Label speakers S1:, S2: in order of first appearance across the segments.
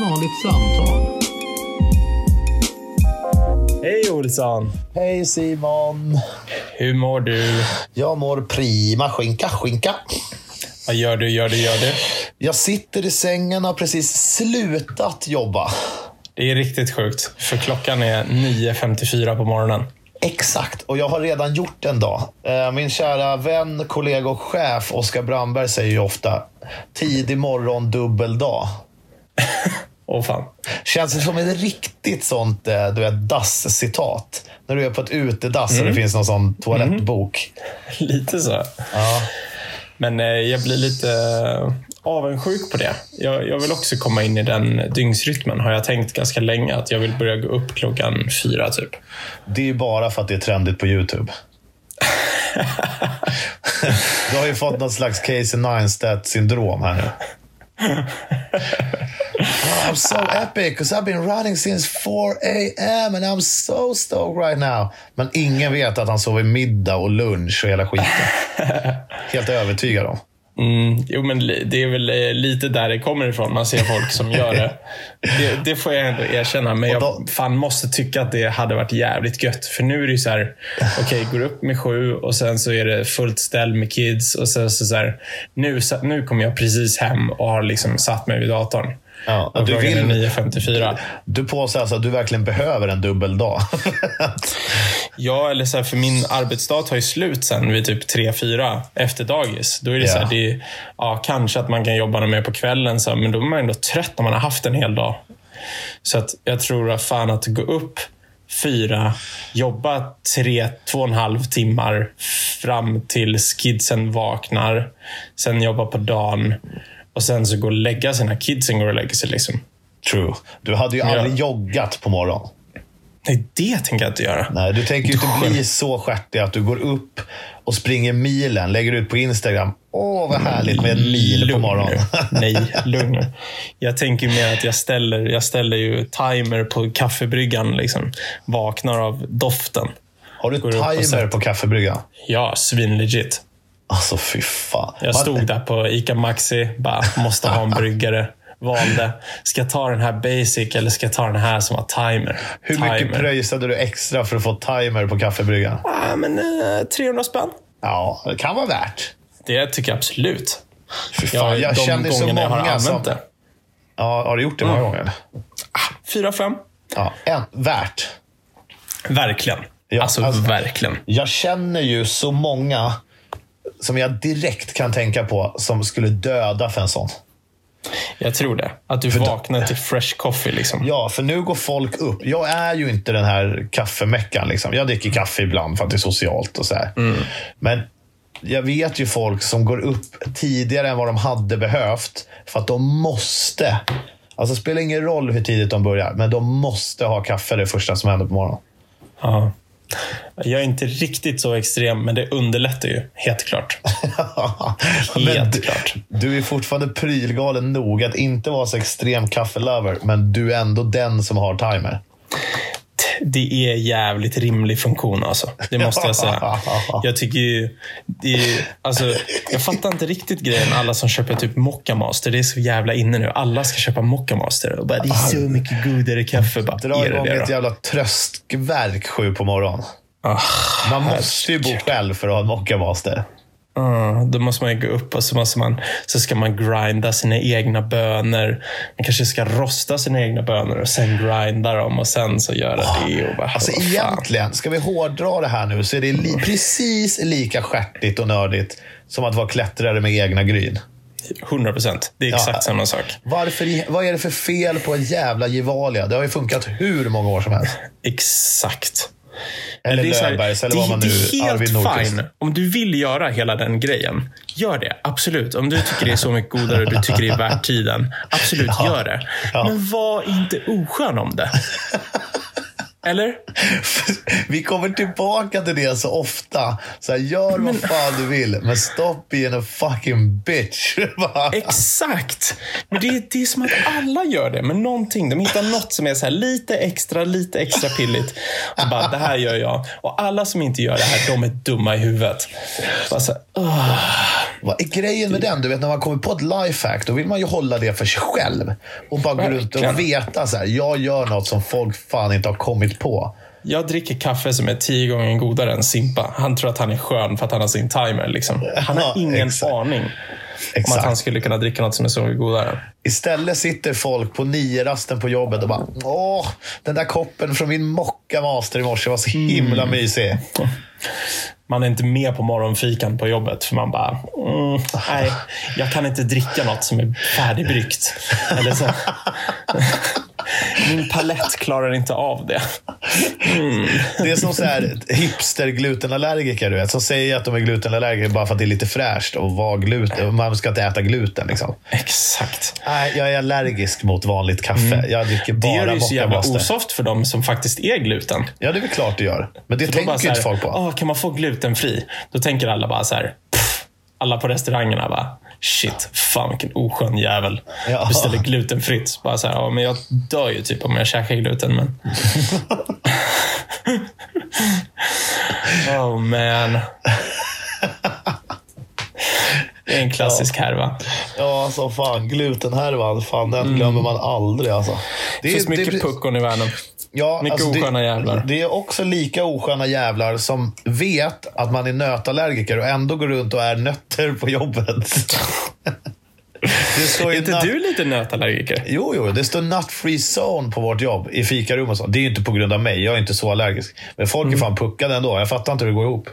S1: vanligt samtal.
S2: Hej Olsson!
S3: Hej Simon!
S2: Hur mår du?
S3: Jag mår prima. Skinka, skinka.
S2: Vad gör du, gör du, gör du?
S3: Jag sitter i sängen och har precis slutat jobba.
S2: Det är riktigt sjukt, för klockan är 9.54 på morgonen.
S3: Exakt, och jag har redan gjort en dag. Eh, Min kära vän, kollega och chef Oskar Brandberg säger ju ofta tidig morgon, dubbel dag.
S2: Åh fan.
S3: Känns det som ett riktigt sånt eh, du vet, dass-citat? När du är på ett utedass och det finns någon sån toalettbok.
S2: Lite så.
S3: Ja.
S2: Men eh, jag blir lite eh, avundsjuk på det. Jag, jag vill också komma in i den dygnsrytmen, har jag tänkt ganska länge. Att jag vill börja gå upp klockan fyra, typ.
S3: Det är ju bara för att det är trendigt på YouTube. du har ju fått något slags Casey Neistat syndrom här nu. Oh, I'm so epic because I've been running since 4 a.m. and I'm so stoked right now. Men ingen vet att han sover middag och lunch och hela skiten. Helt övertygad om.
S2: Mm, jo, men li- det är väl eh, lite där det kommer ifrån. Man ser folk som gör det. Det, det får jag ändå erkänna. Men
S3: Och
S2: jag
S3: då-
S2: fan måste tycka att det hade varit jävligt gött. För nu är det ju så här, okej, går upp med sju och sen så är det fullt ställ med kids. Och sen så, så här, nu, sa- nu kommer jag precis hem och har liksom satt mig vid datorn.
S3: Ja,
S2: och
S3: du
S2: du
S3: vill-
S2: vill... 9.54.
S3: Du påstår alltså att du verkligen behöver en dubbel dag.
S2: Ja, eller så här, för min arbetsdag tar ju slut sen vid typ 3-4 efter dagis. Då är det så här,
S3: Ja.
S2: det är, ja, kanske att man kan jobba något mer på kvällen, så här, men då är man ändå trött när man har haft en hel dag. Så att jag tror att fan att gå upp fyra, jobba tre, två och en halv timmar fram tills kidsen vaknar, sen jobba på dagen och sen så gå och lägga sig när kidsen går och lägger sig. Liksom.
S3: True. Du hade ju aldrig
S2: Ja.
S3: joggat på morgonen.
S2: Nej, det tänker jag inte göra.
S3: Nej, du tänker ju inte bli så stjärtig att du går upp och springer milen, lägger ut på Instagram. Åh, vad härligt med en mil på
S2: Lugn
S3: morgonen.
S2: nu. Nej, lugn nu. Jag tänker mer att jag ställer, jag ställer ju timer på kaffebryggan. Liksom. Vaknar av doften.
S3: Har du
S2: Går upp och
S3: timer
S2: sätter-
S3: på kaffebryggan?
S2: Ja, svinlegit.
S3: Alltså, fy fan.
S2: Jag stod där på ICA Maxi, bara måste ha en bryggare. Valde, ska jag ta den här basic eller ska jag ta den här som har timer?
S3: Hur mycket
S2: Timer.
S3: pröjsade du extra för att få timer på kaffebryggan?
S2: Ah, men, eh, 300 spänn.
S3: Ja, det kan vara värt.
S2: Det tycker jag absolut.
S3: Fy fan, jag känner så många
S2: jag har använt
S3: som...
S2: det.
S3: Ja, har du gjort det många
S2: Mm.
S3: gånger?
S2: Fyra, fem.
S3: Ja, en, värt.
S2: Verkligen.
S3: Ja,
S2: alltså,
S3: alltså-
S2: verkligen.
S3: Jag känner ju så många som jag direkt kan tänka på som skulle döda för en sån.
S2: Jag tror det. Att du vaknar till fresh coffee. Liksom.
S3: Ja, för nu går folk upp. Jag är ju inte den här kaffemeckan. Liksom. Jag dricker kaffe ibland för att det är socialt och så här.
S2: Mm.
S3: Men jag vet ju folk som går upp tidigare än vad de hade behövt för att de måste. Alltså det spelar ingen roll hur tidigt de börjar, men de måste ha kaffe det första som händer på morgonen.
S2: Ja. Jag är inte riktigt så extrem, men det underlättar ju. Helt klart.
S3: men
S2: Helt
S3: du,
S2: klart.
S3: du är fortfarande prylgalen nog att inte vara så extrem kaffelover, men du är ändå den som har timer.
S2: Det är jävligt rimlig funktion alltså. Det måste jag säga. Jag tycker ju... Det är, alltså, jag fattar inte riktigt grejen alla som köper typ Mocca Master. Det är så jävla inne nu. Alla ska köpa Mocca Master. Och bara, det är så mycket godare kaffe. Bara,
S3: Dra
S2: är det
S3: igång
S2: det
S3: ett
S2: då?
S3: jävla tröskverk sju på morgonen.
S2: Ah,
S3: Man måste ju bo själv för att ha en mockamaster.
S2: ah, då måste man ju gå upp och så, måste man, så ska man grinda sina egna bönor. Man kanske ska rosta sina egna bönor och sen grinda dem och sen så göra det. Och bara,
S3: Alltså
S2: vad fan. Mm.
S3: egentligen, ska vi hårdra det här nu, så är det li- precis lika stjärtigt och nördigt som att vara klättrare med egna gryn.
S2: 100 procent. Det är exakt
S3: Ja.
S2: samma sak.
S3: Varför, i- vad är det för fel på en jävla Gevalia? Det har ju funkat hur många år som helst.
S2: Exakt.
S3: Eller
S2: Det är så här,
S3: Löfbergs, eller
S2: det-
S3: vad man nu...
S2: Det är
S3: Arvid
S2: helt
S3: Nordqvist.
S2: fine. Om du vill göra hela den grejen, gör det. Absolut. Om du tycker det är så mycket godare och du tycker det är värt tiden, absolut, gör det.
S3: Ja.
S2: Men var inte oskön om det. Eller?
S3: Vi kommer tillbaka till det så ofta. Så här, gör vad fan du vill, men stopp being a fucking bitch. Va?
S2: Exakt! Men det, är- det är som att alla gör det med någonting. De hittar något som är så här lite extra, lite extra pilligt. Och bara, det här gör jag. Och alla som inte gör det här, de är dumma i huvudet. Bara så här, "Åh."
S3: Vad är grejen med den? Du vet, när man kommer på ett lifehack, då vill man ju hålla det för sig själv. Och bara gå runt och
S2: Verkligen.
S3: veta så här, jag gör något som folk fan inte har kommit på.
S2: Jag dricker kaffe som är tio gånger godare än Simpa. Han tror att han är skön för att han har sin timer. Liksom. Han har
S3: Ja,
S2: ingen
S3: exakt.
S2: aning om
S3: Exakt.
S2: att han skulle kunna dricka något som är så mycket godare.
S3: Istället sitter folk på nio rasten på jobbet och bara Åh, den där koppen från min mocka master i morse var så
S2: Mm.
S3: himla mysig.
S2: Man är inte med på morgonfikan på jobbet för man bara, mm, nej, jag kan inte dricka något som är färdigbryggt. Eller så. Min palett klarar inte av det.
S3: Det är som så här hipster-glutenallergiker, du vet. Som säger att de är glutenallergiker bara för att det är lite fräscht och var gluten. och Man ska inte äta gluten liksom.
S2: Exakt.
S3: Nej, jag är allergisk mot vanligt kaffe. Jag dricker
S2: Mm. Det gör det
S3: bara
S2: ju så jävla
S3: mockamaster.
S2: osoft för dem som faktiskt är gluten.
S3: Ja, det är väl klart det gör. Men det
S2: Då bara
S3: tänker
S2: så
S3: ju inte
S2: här,
S3: folk på.
S2: "Åh, kan man få glutenfri? Då tänker alla bara så här, "Pff." alla på restaurangerna bara, shit, fan vilken oskön jävel.
S3: Ja.
S2: Beställer glutenfritt. Bara så här, "Ja, men jag dör ju typ om jag käkar gluten. Men... oh man. Det är en klassisk härva.
S3: Ja, så fan. Glutenhärvan, fan, den glömmer man aldrig alltså.
S2: Det Mm. finns mycket
S3: det-
S2: puckon i världen.
S3: Ja, alltså,
S2: Mycket osköna
S3: det,
S2: jävlar.
S3: Det är också lika osköna jävlar som vet att man är nötallergiker och ändå går runt och är nötter på jobbet. det står
S2: Är
S3: ju
S2: inte
S3: nut-
S2: du lite nötallergiker?
S3: Jo, jo, det står nut free zone på vårt jobb i fikarum och så. Det är ju inte på grund av mig, jag är inte så allergisk. Men folk
S2: Mm.
S3: är fan puckade ändå, jag fattar inte hur det går ihop.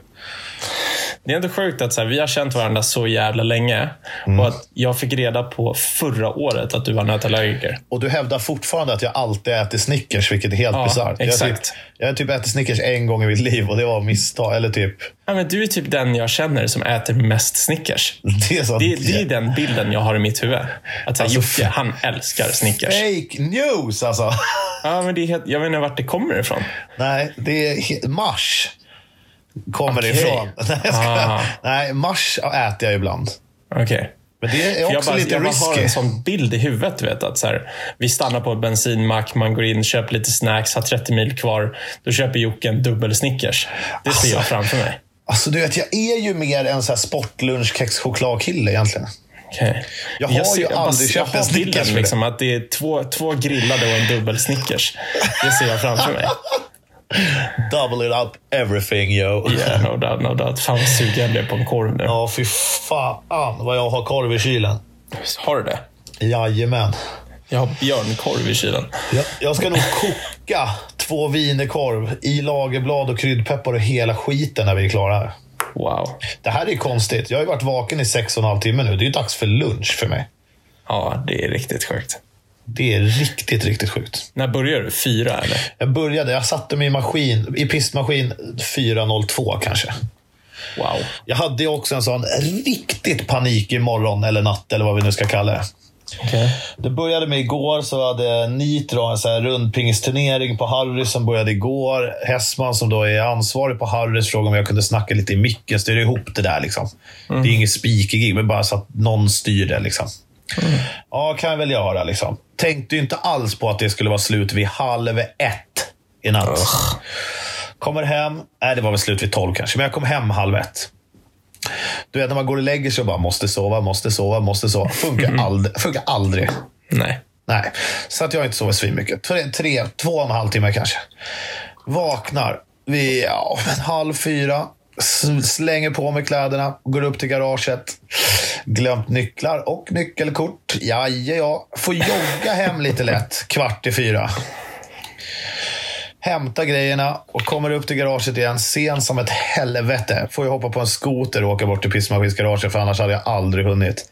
S2: Det är inte sjukt att så här, vi har känt varandra så jävla länge
S3: Mm.
S2: och att jag fick reda på förra året att du var nötallergiker.
S3: Och du hävdar fortfarande att jag alltid äter Snickers, vilket är helt
S2: Ja,
S3: bisarrt. Jag har
S2: exakt.
S3: typ, jag har typ ätit Snickers en gång i mitt liv och det var av misstag. Eller typ...
S2: Ja, men du är typ den jag känner som äter mest Snickers.
S3: Det är, så
S2: Det, det är den bilden jag har i mitt huvud. Att så här,
S3: Alltså,
S2: Jocke, han älskar Snickers.
S3: Fake news alltså!
S2: Ja, men det är helt, jag vet inte vart det kommer ifrån.
S3: Nej, det är he- mars. Kommer
S2: Okej.
S3: det ifrån. Nej, jag ska,
S2: Ah.
S3: nej, mars äter jag ibland.
S2: Okej.
S3: Men det är
S2: Jag
S3: också
S2: bara,
S3: lite
S2: jag bara har
S3: risky.
S2: en sån bild i huvudet. Du vet, att så här, vi stannar på en bensinmack, man går in, köper lite snacks, har 30 mil kvar. Då köper Jocke en dubbel Snickers. Det ser jag framför mig.
S3: Alltså, du vet, jag är ju mer en så här sportlunchkexchokladkille egentligen.
S2: Okej.
S3: Jag har ju
S2: bara-
S3: aldrig
S2: jag
S3: köpt en
S2: har
S3: Snickers
S2: bilden,
S3: för det.
S2: liksom, att det är två, två grillade och en dubbel Snickers. Det ser jag framför mig.
S3: Double it up everything yo.
S2: Yeah, no doubt, no doubt. Fan vad sugen jag blev på en korv nu.
S3: Ja, fy fan vad jag har korv i kylen.
S2: Har du det?
S3: Jajamän.
S2: Jag har björnkorv i kylen.
S3: Jag, jag ska nog koka två wienerkorv i lagerblad och kryddpeppar och hela skiten när vi är klara. här.
S2: Wow.
S3: Det här är konstigt. Jag har ju varit vaken i sex och en halv timme nu. Det är ju dags för lunch för mig.
S2: Ja, det är riktigt sjukt.
S3: Det är riktigt, riktigt sjukt.
S2: När börjar du? Fyra, eller?
S3: Jag började, jag satte mig i maskin, i pistmaskin 4.02 kanske.
S2: Wow.
S3: Jag hade ju också en sån riktigt panik i morgon eller natt eller vad vi nu ska kalla det.
S2: Okay.
S3: Det började med igår, så hade Nitro en så här rundpingisturnering på Harrys som började igår. Hessman som då är ansvarig på Harrys frågade om jag kunde snacka lite i micken, styra ihop det där. Liksom. Det är inget speakergig, men bara så att någon styr det. Liksom. Ja, kan jag väl göra. Liksom. Tänkte ju inte alls på att det skulle vara slut vid halv ett i natt. Kommer hem, nej det var väl slut vid tolv kanske, men jag kom hem halv ett. Du vet när man går och lägger sig och bara måste sova, måste sova, måste sova. Funkar, ald- funkar aldrig.
S2: Nej.
S3: Nej, så att jag har inte sovit svinmycket. Tre, tre, två och en halv timme kanske. Vaknar vid ja, en halv fyra. s- Slänger på mig kläderna, går upp till garaget. Glömt nycklar och nyckelkort. Ja, ja, ja. Får jogga hem lite lätt, kvart i fyra. Hämtar grejerna och kommer upp till garaget igen, sen som ett helvete. Får jag hoppa på en skoter och åka bort till pissmaskinsgaraget, för annars hade jag aldrig hunnit.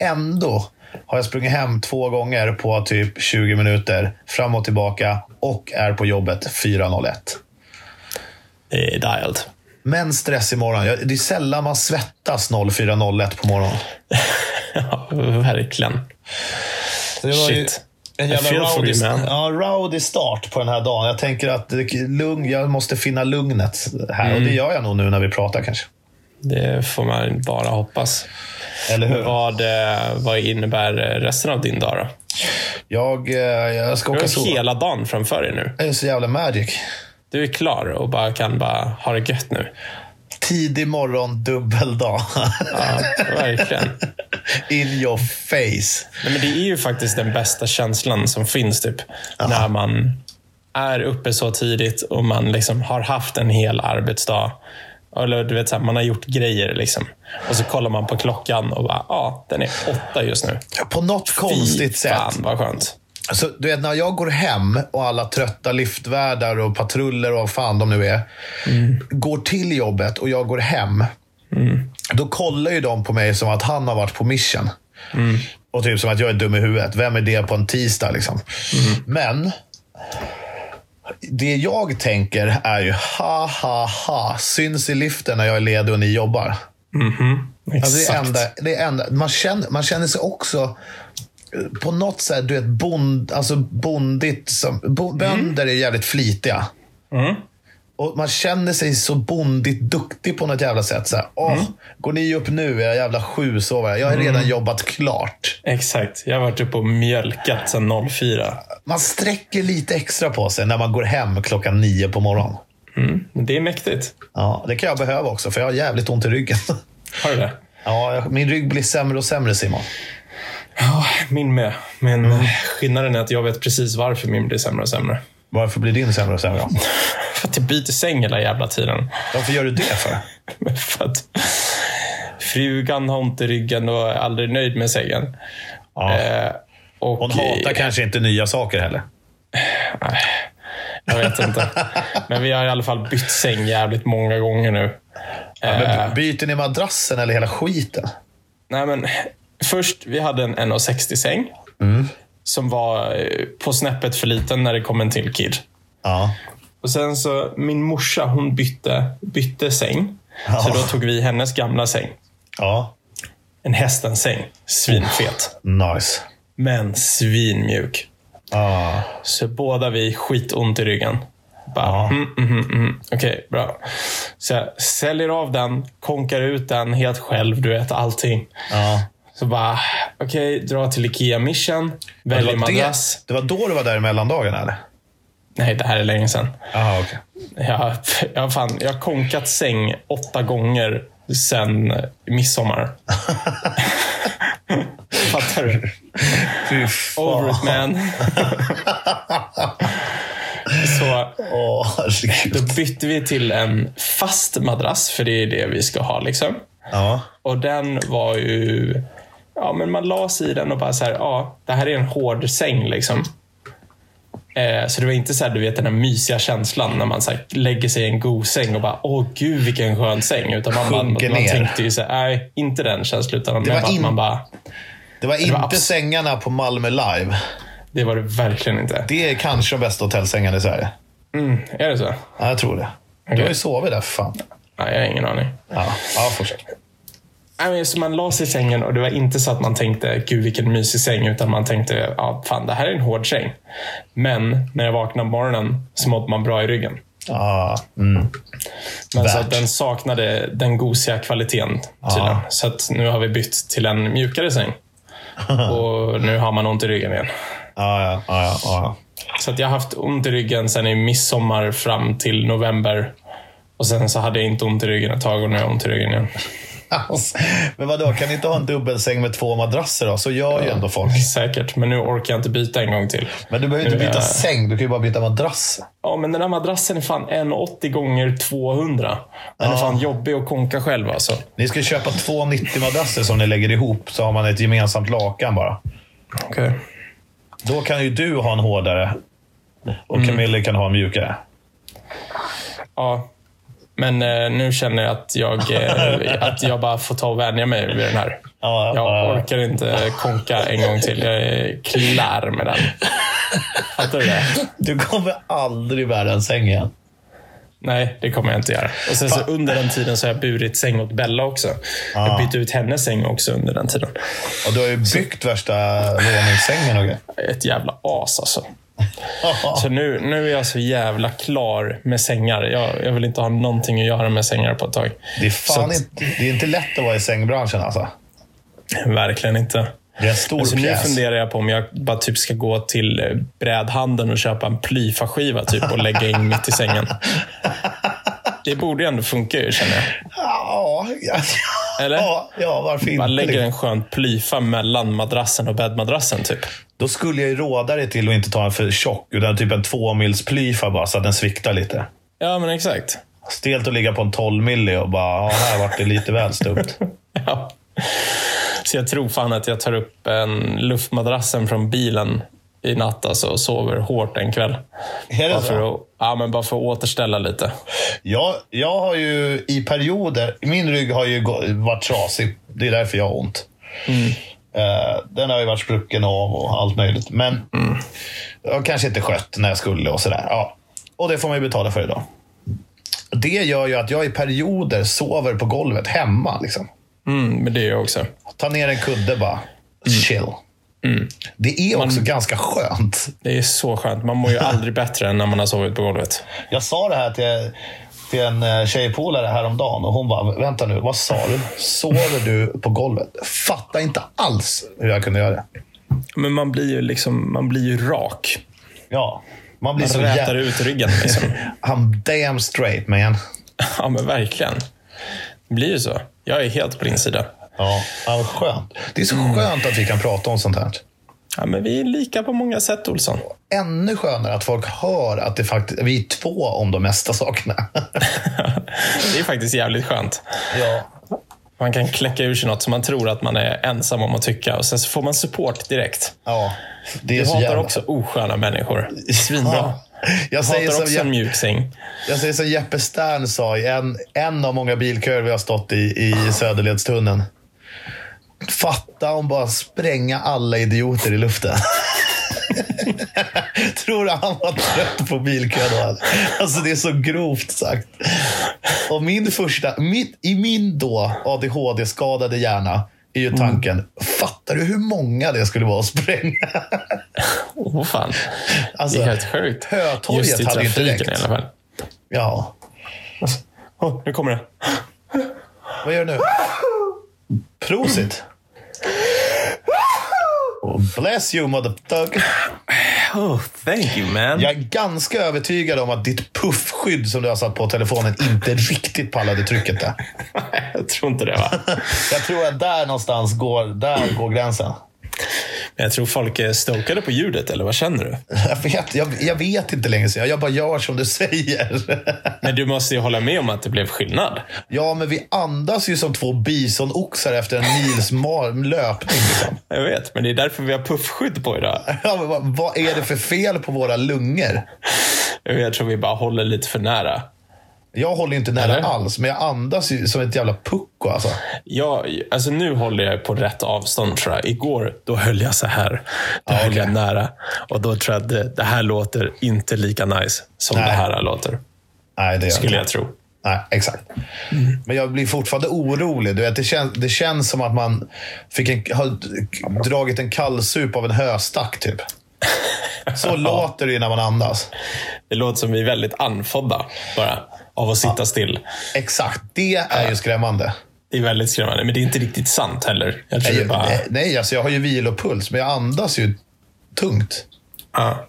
S3: Ändå har jag sprungit hem två gånger på typ 20 minuter, fram och tillbaka och är på jobbet 4.01.
S2: Det är dialed.
S3: Men stress imorgon. Jag- Det är sällan man svettas 04.01 på morgonen.
S2: Ja, verkligen.
S3: Det var ju
S2: Shit.
S3: En
S2: I
S3: jävla
S2: feel for
S3: rowdy,
S2: you, man.
S3: ja, rowdy start på den här dagen. Jag tänker att det- lugn, jag måste finna lugnet här. Och det
S2: Mm.
S3: gör jag nog nu när vi pratar kanske.
S2: Det får man bara hoppas.
S3: Eller hur?
S2: Vad, eh, vad innebär eh, resten av din dag då?
S3: Jag, eh, jag ska
S2: Du
S3: åka och
S2: har
S3: sova.
S2: hela dagen framför dig nu.
S3: Jag är så jävla magic.
S2: Du är klar och bara kan bara ha det gött nu.
S3: Tidig morgon, dubbel dag.
S2: Ja, verkligen.
S3: In your face.
S2: Nej, men det är ju faktiskt den bästa känslan som finns, typ. När man är uppe så tidigt och man liksom har haft en hel arbetsdag. Eller du vet, så här, man har gjort grejer. Liksom. Och så kollar man på klockan och bara, ja, ah, den är åtta just nu.
S3: På något konstigt
S2: Fy fan
S3: sätt.
S2: vad skönt.
S3: Så, du vet, när jag går hem och alla trötta liftvärdar och patruller och vad fan de nu är, går till jobbet och jag går hem, då kollar ju de på mig som att han har varit på mission. Och typ som att jag är dum i huvudet. Vem är det på en tisdag? Liksom? Men det jag tänker är ju ha, ha, ha. Syns i liften när jag är ledig och ni jobbar. Alltså det är
S2: Mhm. Exakt.
S3: enda, det är enda, man, känner, man känner sig också eh, på något sätt, du vet, bond, alltså bondigt. Som, bo, Bönder är jävligt flitiga. Och man känner sig så bondigt duktig på något jävla sätt. Så här, Åh, Går ni upp nu? Är jag jävla sju sover. Jag har redan jobbat klart.
S2: Exakt. Jag har varit uppe och mjölkat sedan 04.
S3: Man sträcker lite extra på sig när man går hem klockan nio på morgonen.
S2: Mm. men Det är mäktigt.
S3: Ja, det kan jag behöva också, för jag har jävligt ont i ryggen.
S2: Har du det?
S3: Ja, jag- min rygg blir sämre och sämre, Simon.
S2: Ja, min med. Men
S3: Mm.
S2: eh, skillnaden är att jag vet precis varför min blir sämre och sämre.
S3: Varför blir din sämre och sämre? då?
S2: För att jag byter säng hela jävla tiden.
S3: Varför gör du det för?
S2: För att frugan har ont i ryggen och är aldrig nöjd med sängen.
S3: Ja.
S2: Eh, och
S3: Hon hatar kanske inte nya saker heller.
S2: Jag vet inte. Men vi har i alla fall bytt säng jävligt många gånger nu.
S3: Ja, men byter ni madrassen eller hela skiten?
S2: Nej, men först, vi hade en 1,60-säng.
S3: Mm.
S2: Som var eh, på snäppet för liten när det kom en till kid.
S3: Ja.
S2: Och sen så, min morsa hon bytte, bytte säng. Så
S3: Ja.
S2: då tog vi hennes gamla säng.
S3: Ja.
S2: En hästens säng. Svinfet.
S3: Nice.
S2: Men svinmjuk.
S3: Ja.
S2: Så båda vi skitont i ryggen. Bara, mm, mm, mm, mm. Okej, bra. Så jag säljer av den, konkar ut den helt själv, du vet allting.
S3: ja.
S2: Så bara, okej, dra till Ikea Mission,
S3: Det,
S2: väljer
S3: var det,
S2: madrass.
S3: det var då du var där i mellandagarna, eller?
S2: Nej, det här är länge sedan.
S3: Ja, okej.
S2: Jag, jag, fan, jag har konkat säng åtta gånger sen midsommar. Fattar du?
S3: Fy
S2: Over it
S3: fan.
S2: man. Så
S3: Åh, herregud.
S2: Då bytte vi till en fast madrass, för det är det vi ska ha. liksom.
S3: Ja.
S2: Och den var ju... Ja, men man la sig i den och bara så här, ja, det här är en hård säng. liksom. Eh, så det var inte så här, du vet, den här mysiga känslan när man så här, lägger sig i en god säng och bara, åh gud vilken skön säng. Utan man, bara,
S3: Sjunker
S2: man
S3: ner.
S2: tänkte ju så här, nej, inte den känslan. Utan det,
S3: var
S2: var bara,
S3: in-
S2: man bara,
S3: Det var inte
S2: var abs-
S3: sängarna på Malmö Live.
S2: det var det verkligen inte.
S3: Det är kanske de bästa hotellsängarna i Sverige.
S2: Mm, är det så?
S3: Ja, jag tror det. Du har ju sovit där, för fan.
S2: Nej, jag har ingen aning.
S3: Ja, ja fortsätt.
S2: Nej, men Så man la sig i sängen och det var inte så att man tänkte gud vilken mysig säng utan man tänkte ja, fan det här är en hård säng. Men när jag vaknade på morgonen så mådde man bra i ryggen.
S3: Ja. Mm.
S2: Men så att
S3: Värt.
S2: den saknade den gosiga kvaliteten tydligen. Så att nu har vi bytt till en mjukare säng. Och nu har man ont i ryggen igen.
S3: Ja, ja, ja, ja, ja.
S2: Så att jag har haft ont i ryggen sedan i midsommar fram till november. Och sen så hade jag inte ont i ryggen ett tag och nu har jag ont i ryggen igen.
S3: Alltså, Men vadå, kan ni inte ha en dubbelsäng med två madrasser då? Så gör ju ändå folk.
S2: Säkert, men nu orkar jag inte byta en gång till.
S3: Men du behöver ju inte
S2: Nu är
S3: byta
S2: jag-
S3: säng, du kan ju bara byta madrass.
S2: Ja, men den där madrassen är fan 1,80 gånger 200. Den är fan jobbig att konka själv alltså.
S3: Ni ska köpa två 90-madrasser som ni lägger ihop, så har man ett gemensamt lakan bara.
S2: Okay.
S3: Då kan ju du ha en hårdare och
S2: Mm.
S3: Camille kan ha en mjukare.
S2: Ja. Men eh, nu känner jag att jag, eh, att jag bara får ta och vänja mig vid den här.
S3: Ja, ja.
S2: Jag orkar inte konka en gång till. Jag är klar med den. Fattar du det?
S3: Du kommer aldrig bära en säng igen.
S2: Nej, det kommer jag inte göra. Och sen så under den tiden så har jag burit säng åt Bella också. Jag bytte ut hennes säng också under den tiden.
S3: Och du har ju byggt värsta våningssängen och grejer.
S2: Ett jävla as alltså. Så nu, nu är jag så jävla klar med sängar. Jag, jag vill inte ha någonting att göra med sängar på ett tag.
S3: Det är, fan
S2: Så att-
S3: inte, det är inte lätt att vara i sängbranschen alltså.
S2: Verkligen inte.
S3: Det är en stor
S2: Så nu
S3: pjäs.
S2: Alltså, funderar jag på om jag bara typ ska gå till eh, brädhandeln och köpa en plyfaskiva typ och lägga in mitt i sängen. Det borde ju ändå funka ju, känner jag.
S3: Ja, ja,
S2: Eller?
S3: ja, ja varför
S2: Bara lägger
S3: inte?
S2: en skön plyfa mellan madrassen och bäddmadrassen, typ.
S3: Då skulle jag ju råda dig till att inte ta en för tjock, utan typ en tvåmilsplyfa bara så att den sviktar lite.
S2: Ja, men exakt.
S3: Stelt att ligga på en 12 milli och bara, ja, här vart det lite väl stumt.
S2: Ja. Så jag tror fan att jag tar upp en luftmadrassen från bilen i natt alltså, och sover hårt en kväll.
S3: Är
S2: Bara
S3: det så?
S2: för, att, ja, men bara för att återställa lite.
S3: Jag, jag har ju i perioder, min rygg har ju gå- varit trasig. Det är därför jag har ont. Eh, den har ju varit sprucken av och allt möjligt. Men jag kanske inte skött när jag skulle och sådär. Ja. Och det får man ju betala för idag. Det gör ju att jag i perioder sover på golvet hemma. Liksom.
S2: Mm, men det är jag också.
S3: Ta ner en kudde bara. Chill. Mm. Det är också ganska skönt.
S2: Det är så skönt. Man mår ju aldrig bättre än när man har sovit på golvet.
S3: Jag sa det här till, till en eh, tjejpolare häromdagen och hon bara, vänta nu, vad sa du? Sover du på golvet? Fattar inte alls hur jag kunde göra det.
S2: Men man blir ju, liksom, man blir ju rak.
S3: Ja, man blir så
S2: Rätar
S3: jävla...
S2: ut ryggen. Liksom.
S3: I'm damn straight man.
S2: Ja, men verkligen. Det blir ju så. Jag är helt på din sida.
S3: Ja, ja, vad skönt. Mm. Det är så skönt att vi kan prata om sånt här.
S2: Ja, men vi är lika på många sätt, Olsson.
S3: Ännu skönare att folk hör att det faktiskt, vi är två om de mesta sakerna.
S2: Det är faktiskt jävligt skönt.
S3: ja.
S2: Man kan kläcka ur sig något som man tror att man är ensam om att tycka och sen så får man support direkt.
S3: ja, det är
S2: Jag
S3: så
S2: hatar
S3: jävla...
S2: också osköna människor. Svinbra.
S3: Ja. Jag
S2: Jag
S3: säger
S2: hatar
S3: som
S2: också
S3: Jeppe-
S2: en mjuksäng.
S3: Jag säger som Jeppe Stern sa i en, en av många bilköer vi har stått i, i Söderledstunneln. Fatta om bara spränga alla idioter i luften. Tror du han var trött på bilkö då? eller? Alltså det är så grovt sagt. Och min första, mitt, i min då ADHD-skadade hjärna är
S2: Mm.
S3: ju tanken, fattar du hur många det skulle vara att spränga?
S2: Åh fan.
S3: Alltså,
S2: det är helt sjukt.
S3: Hötorget
S2: Just i
S3: hade ju inte
S2: trafiken i
S3: räckt.
S2: alla fall.
S3: Ja.
S2: Åh, nu kommer det.
S3: Vad gör du nu? Prosit. Oh, Bless you motherfucker.
S2: Oh, thank you man.
S3: Jag är ganska övertygad om att ditt puffskydd som du har satt på telefonen inte riktigt pallade trycket där.
S2: jag tror inte det va?
S3: Jag tror att där någonstans går, där går gränsen.
S2: Men jag tror folk är stokade på ljudet, eller vad känner du?
S3: Jag vet, jag, jag vet inte längre, så jag, jag bara gör som du säger.
S2: Men du måste ju hålla med om att det blev skillnad.
S3: Ja, men vi andas ju som två bisonoxar efter en mils mar- löpning. Liksom.
S2: Jag vet, men det är därför vi har puffskydd på idag.
S3: Ja, men vad, vad är det för fel på våra lungor?
S2: Jag tror vi bara håller lite för nära.
S3: Jag håller inte nära
S2: Eller?
S3: alls, men jag andas ju som ett jävla pucko. Alltså.
S2: Jag, alltså nu håller jag på rätt avstånd tror jag. Igår, då höll jag så här. Då höll jag nära. Och då tror jag att det, det här låter inte lika nice som det här låter.
S3: Nej, det gör jag
S2: Skulle
S3: inte.
S2: jag tro.
S3: Nej, exakt. Men jag blir fortfarande orolig. Du vet, det, kän, det känns som att man fick en, har dragit en kallsup av en höstack. Typ. Så låter det ju när man andas.
S2: Det låter som vi är väldigt andfådda bara av att sitta still.
S3: Exakt, det är ju skrämmande.
S2: Det är väldigt skrämmande, men det är inte riktigt sant heller. Jag tror det är bara...
S3: Nej, nej, alltså jag har ju vilopuls, men jag andas ju tungt.
S2: Ja.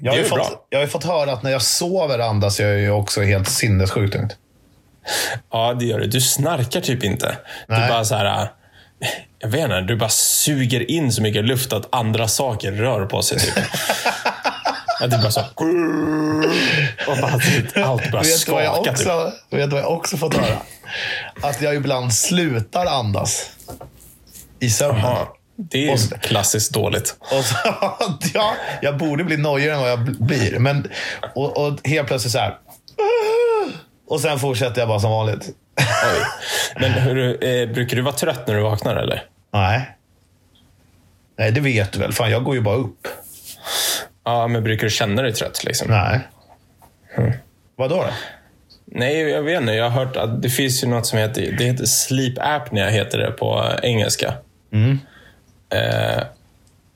S3: Jag har,
S2: Det
S3: ju
S2: är bra.
S3: fått, jag har ju fått höra att när jag sover andas jag ju också helt sinnessjukt tungt.
S2: ja, det gör det. Du snarkar typ inte. Du
S3: Nej.
S2: bara så här... äh, Jag vet inte, du bara suger in så mycket luft att andra saker rör på sig. Typ. Att det bara så... Och bara, typ, allt bara
S3: Vet du vad jag
S2: skakar. Typ.
S3: också, vet du vad jag också fått höra? Att jag ibland slutar andas i sömnen.
S2: Ja, det är ju klassiskt dåligt.
S3: Och så, ja, jag borde bli nojigare än vad jag bl- blir. Men, och, och helt plötsligt så här. Och sen fortsätter jag bara som vanligt.
S2: Oj. Men hur, eh, brukar du vara trött när du vaknar eller?
S3: Nej. Nej, det vet du väl. Fan, jag går ju bara upp.
S2: Ja, men brukar du känna dig trött? Liksom?
S3: Nej.
S2: Mm.
S3: Vadå då?
S2: Nej, jag vet inte. Jag har hört att det finns ju något som heter, det heter sleep apnea heter det på eh, engelska.
S3: Mm.
S2: Eh,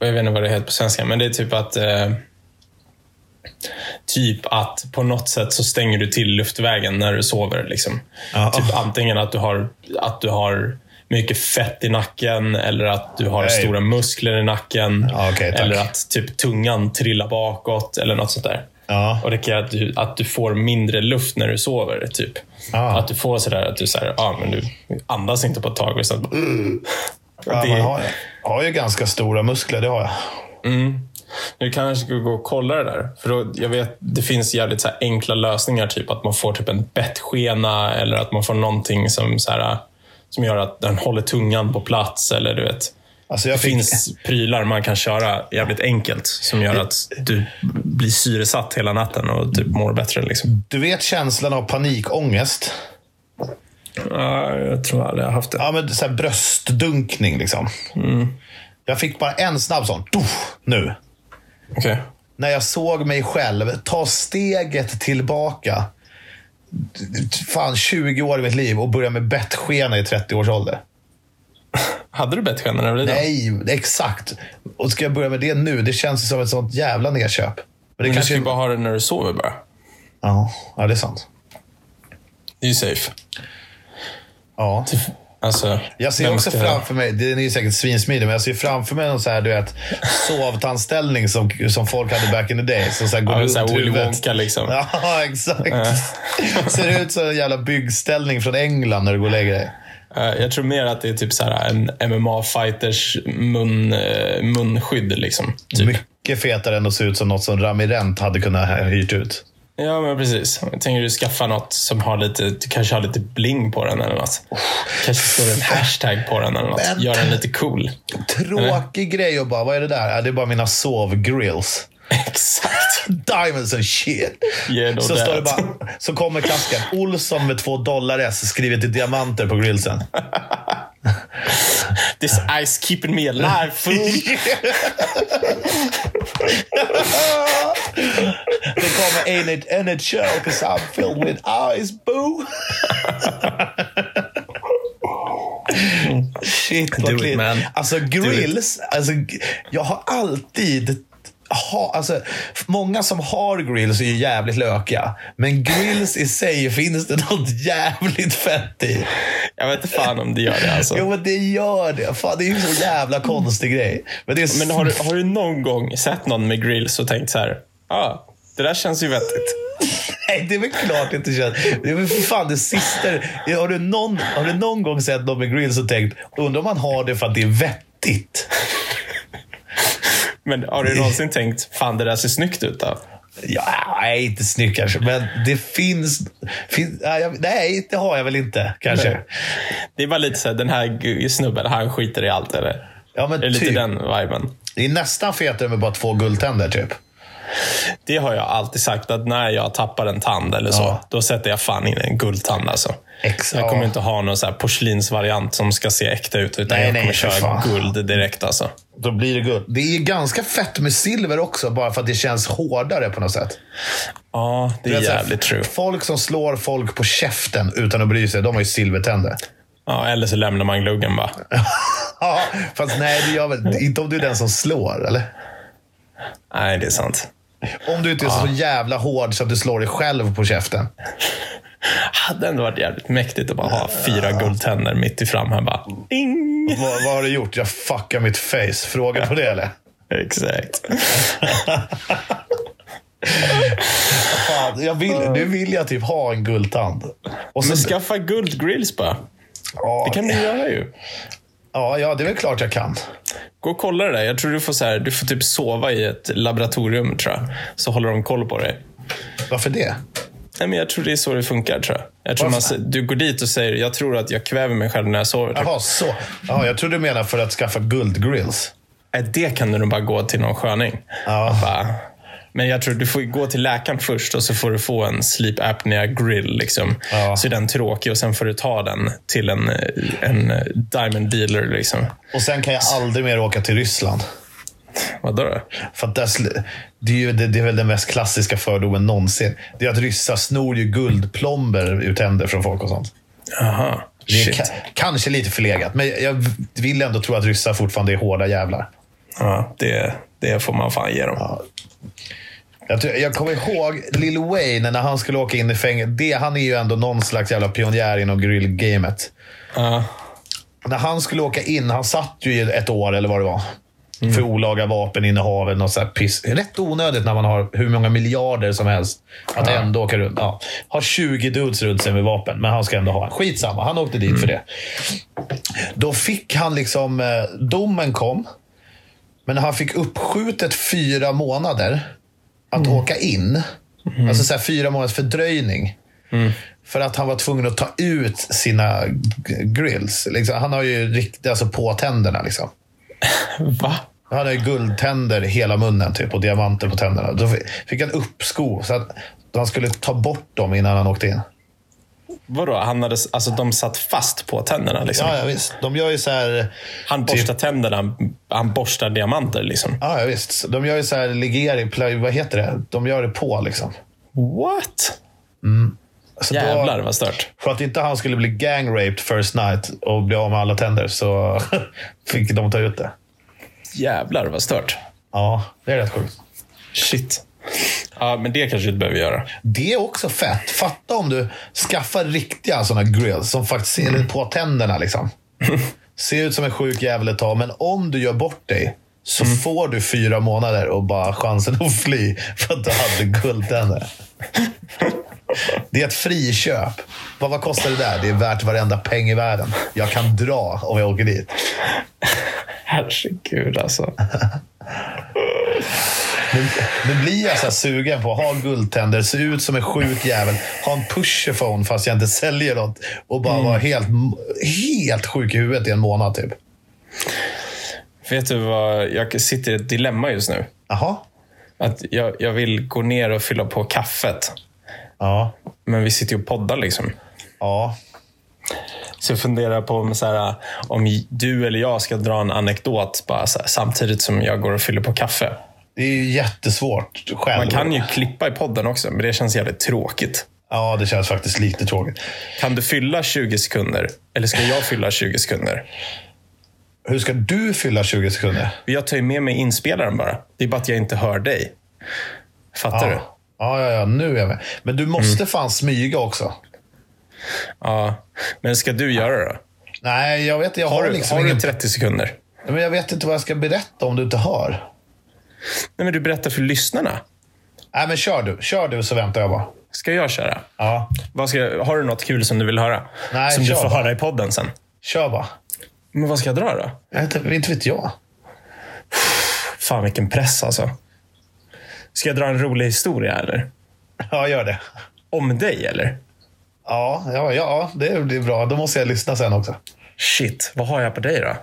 S2: och jag vet inte vad det heter på svenska, men det är typ att eh, Typ att på något sätt så stänger du till luftvägen när du sover. Liksom.
S3: Ja.
S2: Typ antingen att du, har, att du har mycket fett i nacken eller att du har
S3: Nej.
S2: stora muskler i nacken.
S3: Ja, okej, tack.
S2: eller att typ tungan trillar bakåt eller något sånt där.
S3: Ja.
S2: Och det kan göra att du, att du får mindre luft när du sover. typ.
S3: Ah.
S2: Att du får sådär att du, såhär, ah, men du andas inte på ett tag. Och sen, bara, "Ugh." Och
S3: Ja,
S2: det-
S3: man har, har ju ganska stora muskler, det har jag.
S2: Nu kanske ska gå och kolla det där. För då, jag vet, det finns jävligt så här enkla lösningar. Typ att man får typ en bettskena eller att man får någonting som, så här, som gör att den håller tungan på plats. Eller du vet.
S3: Alltså jag
S2: Det
S3: fick,
S2: finns prylar man kan köra jävligt enkelt som gör att du blir syresatt hela natten och typ mår bättre. Liksom.
S3: Du vet känslan av panikångest?
S2: Ja, jag tror aldrig jag har haft det.
S3: Ja, men så här bröstdunkning liksom.
S2: Mm.
S3: Jag fick bara en snabb sån. Tuff, nu.
S2: Okej.
S3: När jag såg mig själv ta steget tillbaka. Fan, 20 år i mitt liv och börja med bettskena i 30 års ålder.
S2: Hade du bettskena när du var liten?
S3: Nej, exakt. Och ska jag börja med det nu? Det känns ju som ett sånt jävla nedköp. Men det
S2: Men Du ska
S3: kanske...
S2: ju bara ha det när du sover bara.
S3: Ja, ja, det är sant.
S2: Det är ju safe.
S3: Ja.
S2: Alltså,
S3: Jag ser
S2: vem
S3: också
S2: ska-
S3: framför mig, den är ju säkert svinsmidig, men jag ser framför mig någon så här, du vet, sovtandställning som, som folk hade back in the day. Som så här går
S2: Ja,
S3: runt
S2: så här Willy
S3: huvudet.
S2: Wonka liksom.
S3: Ja, exakt. ser ut som en jävla byggställning från England när du går och lägger dig.
S2: Eh, Jag tror mer att det är typ så här en MMA-fighters mun, eh, munskydd. Liksom, typ.
S3: Mycket fetare än att se ut som något som Rami Rent hade kunnat ha hyrt ut.
S2: Ja, men precis. Jag tänker du skaffa något som har lite, du kanske har lite bling på den eller något. Kanske står en hashtag på den eller något.
S3: Men-
S2: Gör den lite cool.
S3: Tråkig grej och bara, vad är det där? Ja, det är bara mina sovgrills.
S2: Exakt.
S3: Diamonds and shit.
S2: Yeah, no
S3: så, står det
S2: doubt.
S3: bara, så kommer kasken. Olsson med två dollar S skrivet i diamanter på grillsen.
S2: This ice keeping me alive, fool.
S3: Det kommer in it in a show because I'm filled with eyes, boo. Shit,
S2: Do
S3: vad
S2: it,
S3: klipp.
S2: man.
S3: Alltså grills, alltså, jag har alltid ha, alltså, många som har grills är ju jävligt lökiga. Men grills i sig finns det något jävligt fett i.
S2: Jag vet inte fan om det gör det alltså.
S3: Jo, men det gör det. Fan, det är ju så jävla konstig grej. Men det är
S2: Men har du, har du någon gång sett någon med grills och tänkt så här, ah, det där känns ju vettigt.
S3: Nej, det är väl klart det inte känns. Det är väl för fan det sista. Har du någon, har du någon gång sett någon med grills och tänkt, undrar om man har det för att det är vettigt?
S2: Men har du någonsin tänkt, fan det där ser snyggt ut då?
S3: Ja, nej, inte snyggt kanske, men det finns... finns nej, jag- nej, det har jag väl inte kanske.
S2: Nej. Det är bara lite så här, den här gu- snubben, han skiter i allt eller?
S3: Ja,
S2: Det är
S3: men
S2: lite
S3: typ.
S2: den viben.
S3: Det är nästan fetare med bara två guldtänder typ.
S2: Det har jag alltid sagt, att när jag tappar en tand eller så,
S3: Ja.
S2: då sätter jag fan in en guldtand alltså.
S3: Ex-
S2: jag
S3: ja.
S2: kommer inte ha någon så här porslinsvariant som ska se äkta ut, utan
S3: Nej,
S2: jag
S3: nej,
S2: kommer
S3: för
S2: köra
S3: fan.
S2: guld direkt alltså.
S3: Då blir det guld. Det är ganska fett med silver också, bara för att det känns hårdare på något sätt.
S2: Ja, det är
S3: vet, så här,
S2: jävligt true.
S3: Folk som slår folk på käften utan att bry sig, de har ju silvertänder.
S2: Ja, eller så lämnar man gluggen bara.
S3: Ja, fast nej, det gör väl inte om du är den som slår, eller?
S2: Nej, det är sant.
S3: Om du inte är så jävla hård så att du slår dig själv på käften.
S2: Hade ändå varit jävligt mäktigt att bara ha fyra guldtänder mitt i fram här bara. Ding!
S3: Vad, vad har du gjort? Jag fuckar mitt face. Fråga på det, eller?
S2: Exakt.
S3: Fan, jag vill, nu vill jag typ ha en guldtand. Och
S2: Men
S3: så,
S2: skaffa guldgrills bara. Det
S3: ja,
S2: kan du göra ju.
S3: ja, ja, det är väl klart jag kan.
S2: Gå och kolla det där. Jag tror du får, så här, du får typ sova i ett laboratorium, tror jag. Så håller de koll på dig.
S3: Varför det?
S2: Nej, men jag tror det är så det funkar, tror jag. jag tror man,
S3: Varför?
S2: sä- du går dit och säger, jag tror att jag kväver mig själv när jag sover. Typ.
S3: Jaha, så. Ja, jag trodde du menade för att skaffa guldgrills.
S2: Nej, Äh, Det kan du nog bara gå till någon sköning.
S3: Ja.
S2: Och Bara, men jag tror du får gå till läkaren först och så får du få en sleep apnea grill. Liksom.
S3: Ja.
S2: Så är den tråkig och sen får du ta den till en, eh, en eh, diamond dealer. Liksom.
S3: Och sen kan jag aldrig mer åka till Ryssland.
S2: Vadå då?
S3: För att där, sl- det, är ju, det, det är väl den mest klassiska fördomen någonsin. Det är att ryssar snor ju guldplomber ur tänder från folk och sånt.
S2: Aha.
S3: Det är
S2: Shit.
S3: ka- kanske lite förlegat, men jag v- vill ändå tro att ryssar fortfarande är hårda jävlar.
S2: Ja, det, det får man fan ge dem.
S3: Jag, tror- jag kommer ihåg Lil Wayne när han skulle åka in i fängelse. Det, han är ju ändå någon slags jävla pionjär inom grillgamet.
S2: Ja.
S3: När han skulle åka in, han satt ju i ett år eller vad det var. för olaga vapeninnehav. eller Något så här piss. Rätt onödigt när man har hur många miljarder som helst. Att ändå åka runt. Ja. Har 20 dudes runt sig med vapen, men han ska ändå ha en. Skitsamma, han åkte dit för det. Då fick han liksom... eh, Domen kom, men han fick uppskjutet fyra månader att åka in. Alltså så här, fyra månaders fördröjning. För att han var tvungen att ta ut sina g- grills. Liksom, han har ju rikt, alltså på tänderna. Liksom.
S2: Va?
S3: Han har ju guldtänder i hela munnen typ, och diamanter på tänderna. Då fi- fick han uppskov så att han skulle ta bort dem innan han åkte in.
S2: Vadå? Han hade, alltså, de satt fast på tänderna. Liksom.
S3: Ja, Typ. ja visst. De gör ju så här...
S2: Han borstar tänderna. Han borstar diamanter. Liksom.
S3: Ja, ja visst. De gör ju så här ligeri, plöj, vad heter det? De gör det på liksom.
S2: What?
S3: Så då-
S2: Jävlar vad stört.
S3: För att inte han skulle bli gang-raped first night och bli av med alla tänder så fick de ta ut det.
S2: Jävlar vad stört.
S3: Ja, det är rätt sjukt.
S2: Shit. Ja, men det kanske du inte behöver göra.
S3: Det är också fett. Fatta om du skaffar riktiga sådana grills som faktiskt ser lite på tänderna. Liksom. Ser ut som en sjuk jävel ett tag, men om du gör bort dig så får du fyra månader och bara chansen att fly för att du hade guldtänder. Det är ett friköp. Vad, vad kostar det där? Det är värt varenda peng i världen. Jag kan dra om jag åker dit.
S2: Herregud alltså.
S3: Nu, nu blir jag så här sugen på att ha guldtänder, se ut som en sjuk jävel, ha en pusherphone fast jag inte säljer något och
S2: Mm.
S3: bara vara helt, helt sjuk i huvudet i en månad typ.
S2: Vet du vad? Jag sitter i ett dilemma just nu.
S3: Jaha.
S2: Att jag, jag vill gå ner och fylla på kaffet.
S3: Ja.
S2: Men vi sitter ju och poddar liksom.
S3: Ja.
S2: Så jag funderar på om, så här, om du eller jag ska dra en anekdot bara så här, samtidigt som jag går och fyller på kaffe.
S3: Det är ju jättesvårt själv.
S2: Man kan ju klippa i podden också, men det känns jävligt tråkigt.
S3: Ja, det känns faktiskt lite tråkigt.
S2: Kan du fylla 20 sekunder? Eller ska jag fylla 20 sekunder?
S3: Hur ska du fylla 20 sekunder?
S2: Jag tar ju med mig inspelaren bara. Det är bara att jag inte hör dig. Fattar du?
S3: Ja. Ja, ja, ja, nu är jag med. Men du måste
S2: Mm.
S3: fan smyga också.
S2: Ja. Men ska du göra det då?
S3: Nej, jag vet Jag har,
S2: Har du,
S3: liksom
S2: har
S3: ingen...
S2: du 30 sekunder?
S3: Nej, Men jag vet inte vad jag ska berätta om du inte hör.
S2: Nej, men du berättar för lyssnarna.
S3: Nej, men kör du. Kör du så väntar jag bara.
S2: Ska jag köra?
S3: Ja.
S2: Vad ska jag, har du något kul som du vill höra?
S3: Nej,
S2: som du
S3: kör
S2: får
S3: bara.
S2: höra i podden sen.
S3: Kör bara.
S2: Men vad ska jag dra då?
S3: Jag vet Inte, inte vet jag.
S2: Fan vilken press alltså. Ska jag dra en rolig historia eller?
S3: Ja, gör det.
S2: Om dig eller?
S3: Ja, ja, ja det blir bra. Då måste jag lyssna sen också.
S2: Shit, vad har jag på dig då?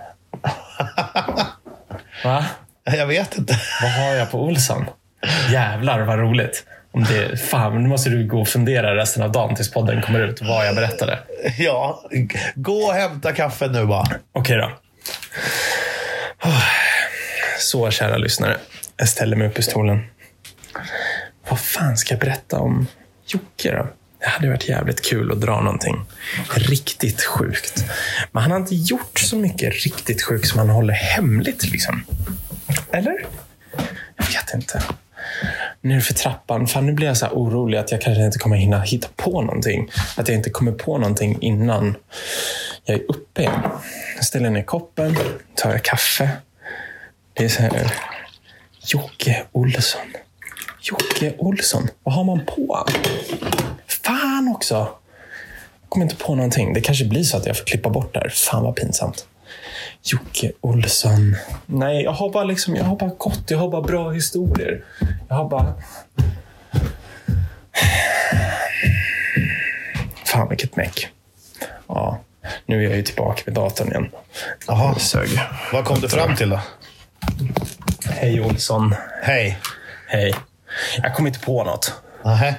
S2: Va?
S3: Jag vet inte.
S2: Vad har jag på Olsson? Jävlar vad roligt. Om det, fan, nu måste du gå och fundera resten av dagen tills podden kommer ut vad jag berättade.
S3: Ja, gå och hämta kaffet nu bara.
S2: Okej då. Ah, Så, kära lyssnare. Jag ställer mig upp i stolen. Vad fan ska jag berätta om Jocke då? Det hade varit jävligt kul att dra någonting riktigt sjukt. Men han har inte gjort så mycket riktigt sjukt som han håller hemligt. liksom. Eller? Jag vet inte. Nu för trappan, fan nu blir jag så här orolig att jag kanske inte kommer hinna hitta på någonting. Att jag inte kommer på någonting innan jag är uppe igen. Jag ställer ner koppen, tar jag kaffe. Det är så här... Jocke Olsson. Jocke Olsson. Vad har man på? Fan också! Jag kommer inte på någonting. Det kanske blir så att jag får klippa bort det här. Fan vad pinsamt. Jocke Olsson. Nej, jag har bara, liksom, jag har bara gott. Jag har bara bra historier. Jag har bara... Fan vilket meck. Ja, nu är jag ju tillbaka vid datorn igen.
S3: Jaha.
S2: Sög.
S3: Vad kom du fram till då?
S2: Hej Olsson.
S3: Hej.
S2: Hej. Jag kom inte på något.
S3: Nähä.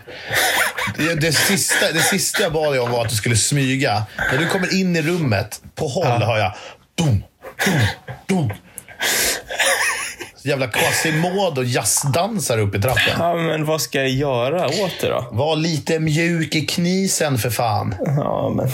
S3: Det, det, sista, det sista jag bad dig om var att du skulle smyga. När du kommer in i rummet, på håll hör jag dum, dum, dum. Så Jävla Quasimodo jazzdansar upp i trappen.
S2: Ja, men vad ska jag göra åt det då?
S3: Var lite mjuk i knisen för fan.
S2: Ja, men